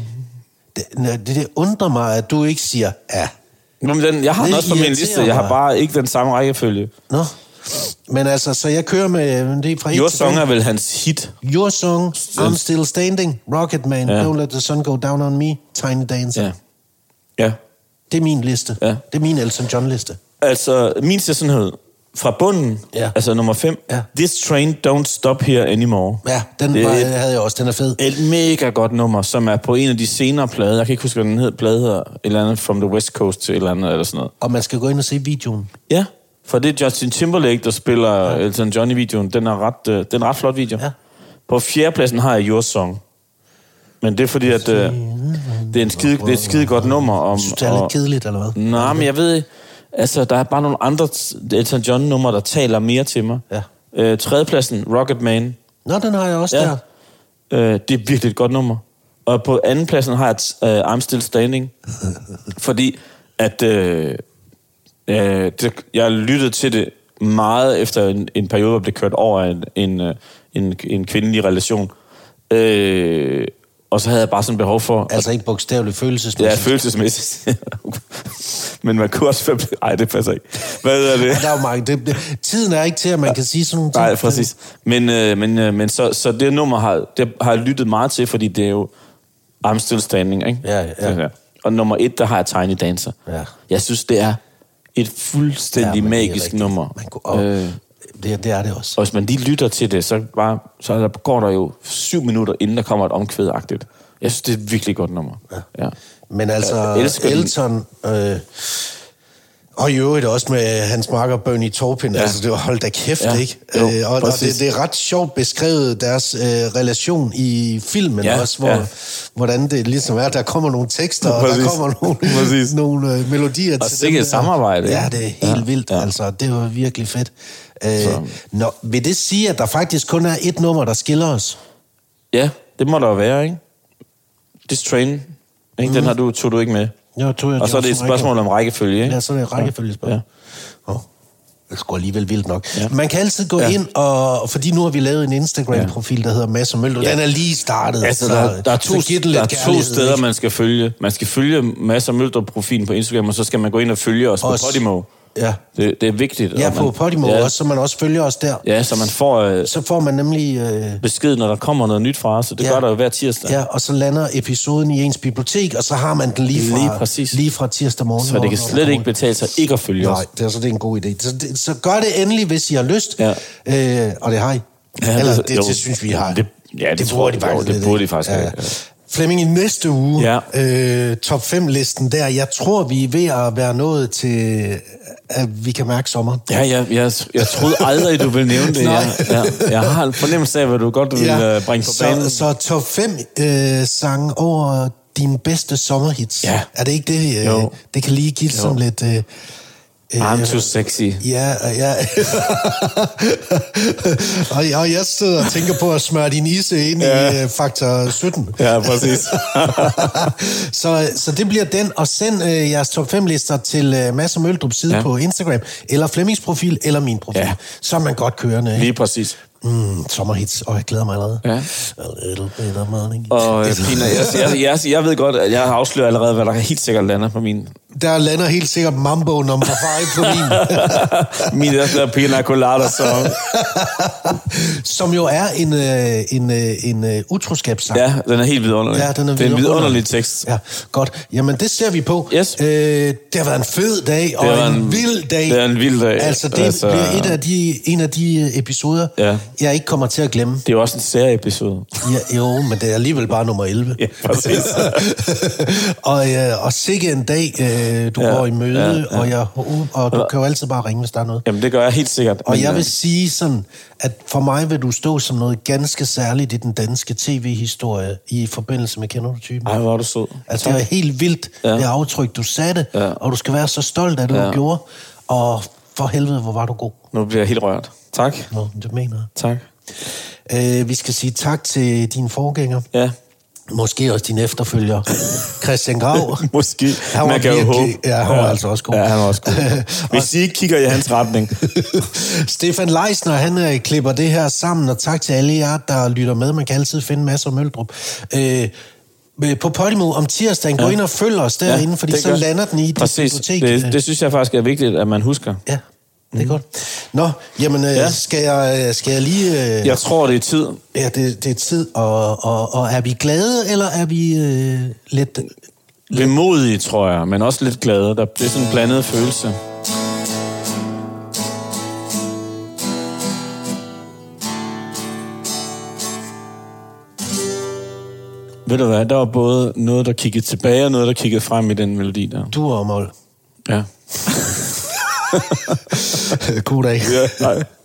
Det, nå, det, det undrer mig, at du ikke siger, ja. Nå, men den, jeg har den Det også på min irriterer liste. Jeg har mig. bare ikke den samme rækkefølge. Nå. Men altså, så jeg kører med, men det er fra et Your til Song fem. er vel hans hit. Your Song, I'm Still Standing, Rocket Man, Ja. Don't Let the Sun Go Down on Me, Tiny Dancer. Ja. Ja. Det er min liste. Ja. Det er min Elton John-liste. Altså, min sandhed fra bunden, Ja. altså nummer 5. Ja. This train don't stop here anymore. Ja, den Det er var, et- havde jeg også. Den er fed. Et mega godt nummer, som er på en af de senere plader. Jeg kan ikke huske, hvad den hed. Plade hedder et eller andet From the West Coast til et eller andet, eller sådan noget. Og man skal gå ind og se videoen. Ja, for det er Justin Timberlake, der spiller ja. Elton John i videoen. Den er ret, øh, den er en ret flot video. Ja. På fjerdepladsen har jeg Your Song. Men det er fordi, at øh, det, er en skide, det er et skide godt nummer. Om, Synes det er lidt og- kedeligt, eller hvad? Nå, men jeg ved... Altså, der er bare nogle andre Elton John-numre, der taler mere til mig. Ja. Øh, tredjepladsen, Rocket Man. Nå, den har jeg også Ja. der. Øh, det er virkelig et godt nummer. Og på andenpladsen har jeg t- øh, I'm Still Standing. fordi at... Øh, øh, det, jeg lyttede til det meget efter en, en periode, hvor jeg blev kørt over af en, en, øh, en, en kvindelig relation. Øh, og så havde jeg bare sådan behov for... Altså ikke bogstaveligt Ja, følelsesmæssigt. følelsesmæssigt. Men man kunne også... være- Ej, det passer ikke. Hvad hedder det? Ja, der er jo mange. Det, det, tiden er ikke til, at man kan sige sådan nogle ting. Nej, præcis. Men, øh, men, øh, men så, så det nummer har, det har jeg lyttet meget til, fordi det er jo I'm Still Standing, ikke? Ja, ja. Det her. Og nummer et, der har jeg Tiny Dancer. Ja. Jeg synes, det er et fuldstændig Ja, ja, men det er magisk rigtigt. nummer. Man kunne, og, Øh, øh. det, det er det også. og hvis man lige lytter til det, så, bare, så er der, går der jo syv minutter, inden der kommer et omkvædagtigt. Jeg synes, det er et virkelig godt nummer. Ja. ja. Men altså, Jeg elsker den. Elton... Øh, og i øvrigt også med hans marker Bernie Taupin. Ja. Altså, det var hold da kæft, Ja. ja. ikke? Jo, øh, og og præcis. det, det er ret sjovt beskrevet, deres øh, relation i filmen Ja, ja. også, hvor, ja. ja. hvordan det ligesom er. Der kommer nogle tekster, og Præcis. der kommer nogle, Præcis. nogle øh, melodier Og til sikke dem et der. samarbejde, ikke? Ja, det er helt Ja, ja. vildt. ja. Ja. Altså, det var virkelig fedt. Øh, nå, vil det sige, at der faktisk kun er et nummer, der skiller os? ja, det må der jo være, ikke? This Train, ikke? Mm. Mhm. den har du, tog du ikke med. Jo, tog jeg Og så er det et også rigtig- spørgsmål om rækkefølge, ikke? Ja, så er det et rækkefølgespørgsmål. Ja. Oh, det skulle alligevel vildt nok. Ja. Ja. Man kan altid gå Ja. ja. ind, og fordi nu har vi lavet en Instagram-profil, der hedder Mads og Møller. Ja. Ja. Den er lige startet. Altså, så- der, der er to, så giv den der lidt er to kærlighed, steder, ikke? man skal følge. Man skal følge Mads og Møldrup-profilen på Instagram, og så skal man gå ind og følge os, Os. på Podimo. Ja. Det, det er vigtigt. Ja, og man- på Podimo ja, ja. også, så man også følger os der. Ja. Ja, så man får øh, Så får man nemlig... Øh, besked, når der kommer noget nyt fra os, og det ja. Ja. gør der jo hver tirsdag. ja, og så lander episoden i ens bibliotek, og så har man den lige fra, Lige præcis. lige fra tirsdag morgen. Så det kan slet ikke betale sig ikke at følge os. Nej, det er, så det er en god idé. Så, det, så gør det endelig, hvis I har lyst. Ja. Øh, og det har I. Ja, Ja, Eller det- det, jo. det, synes vi, I har. Det- ja, det tror burde jeg, de jo, det lidt, burde de ikke? faktisk have, ja. Flemming, i næste uge, Ja. øh, top 5-listen der, jeg tror, vi er ved at være nået til, at vi kan mærke sommeren. Ja, jeg, jeg, jeg troede aldrig, du ville nævne det. Nej. Jeg, jeg, jeg har en fornemmelse af, hvad du godt vil ja. bringe på banen. så, så top 5 øh, sange over dine bedste sommerhits. Ja. Er det ikke det? Øh, Jo. Det kan lige give sådan lidt... Øh, øh, I'm too sexy. Ja, og ja. og, jeg- og jeg sidder og tænker på at smøre din ise ind ja. i øh, faktor 17. Ja, præcis. så, så det bliver den, og send øh, jeres top 5 lister til øh, Mads og Møldrups side Ja. ja. på Instagram, eller Flemmings profil, eller min profil. Ja. Ja. Så er man godt kørende. Ikke? Lige præcis. Mm, sommerhits, og jeg glæder mig allerede. Ja. A little bit of money. Og øh, Pina, jeg, jeg, jeg, jeg ved godt, at jeg afslører allerede, hvad der helt sikkert lander på min Der lander helt sikkert Mambo nummer 5 på min, Min der hedder Pina Colada song. som jo er en, øh, en, øh, en øh, utroskabssang. Ja, den er helt vidunderlig. Ja, den er det er en vidunderlig vidunderlig. tekst. Ja, godt. Jamen, det ser vi på. Yes. Øh, det har været en fed dag, og var en, en- en vild dag. det er en vild dag. Altså, det Altså- altså, bliver et af de, en af de øh, episoder, Ja. jeg ikke kommer til at glemme. Det er jo også en særepisode. Ja, jo, men det er alligevel bare nummer 11. Ja, præcis. og, øh, og sikke en dag, øh, du Ja, ja, går i møde, ja, ja, ja. ja. Og, jeg, og du kan jo altid bare ringe, hvis der er noget. Jamen, det gør jeg helt sikkert. Og Men, jeg øh, vil sige sådan, at for mig vil du stå som noget ganske særligt i den danske tv-historie i forbindelse med Kender du typen? øh, Ej, hvor er du sød. Altså, det var helt vildt, Ja. ja. det aftryk, du satte, Ja. ja. og du skal være så stolt af det, ja. Ja. du gjorde. Og for helvede, hvor var du god. Nu bliver jeg helt rørt. Tak. Nå, det mener jeg. Tak. Øh, vi skal sige tak til dine forgængere. Ja. Måske også din efterfølger, Christian Grav. Måske. Han var Man kan jo virkelig- håbe. ja, han var altså også god. Ja, han var også god. Hvis I ikke kigger i hans retning. Stefan Leisner, han øh, klipper det her sammen, og tak til alle jer, der lytter med. Man kan altid finde masser af Møldrup. Øh, øh, på Podimo om tirsdagen. Gå ind og følg os derinde, ja, fordi det så gør- lander den i dit Præcis. bibliotek. Det, det synes jeg faktisk er vigtigt, at man husker. Ja, det er godt. Nå, jamen, øh, Ja. ja. skal, jeg, øh, skal jeg lige... Øh, Jeg tror, det er tid. Ja, det, det er tid, og, og, og er vi glade, eller er vi øh, lidt... Vemodige, tror jeg, men også lidt glade. Der- Det er sådan en blandet følelse. Ved du hvad, der var både noget, der kiggede tilbage, og noget, der kiggede frem i den melodi der. Du og mål. Ja. God dag. ja nej.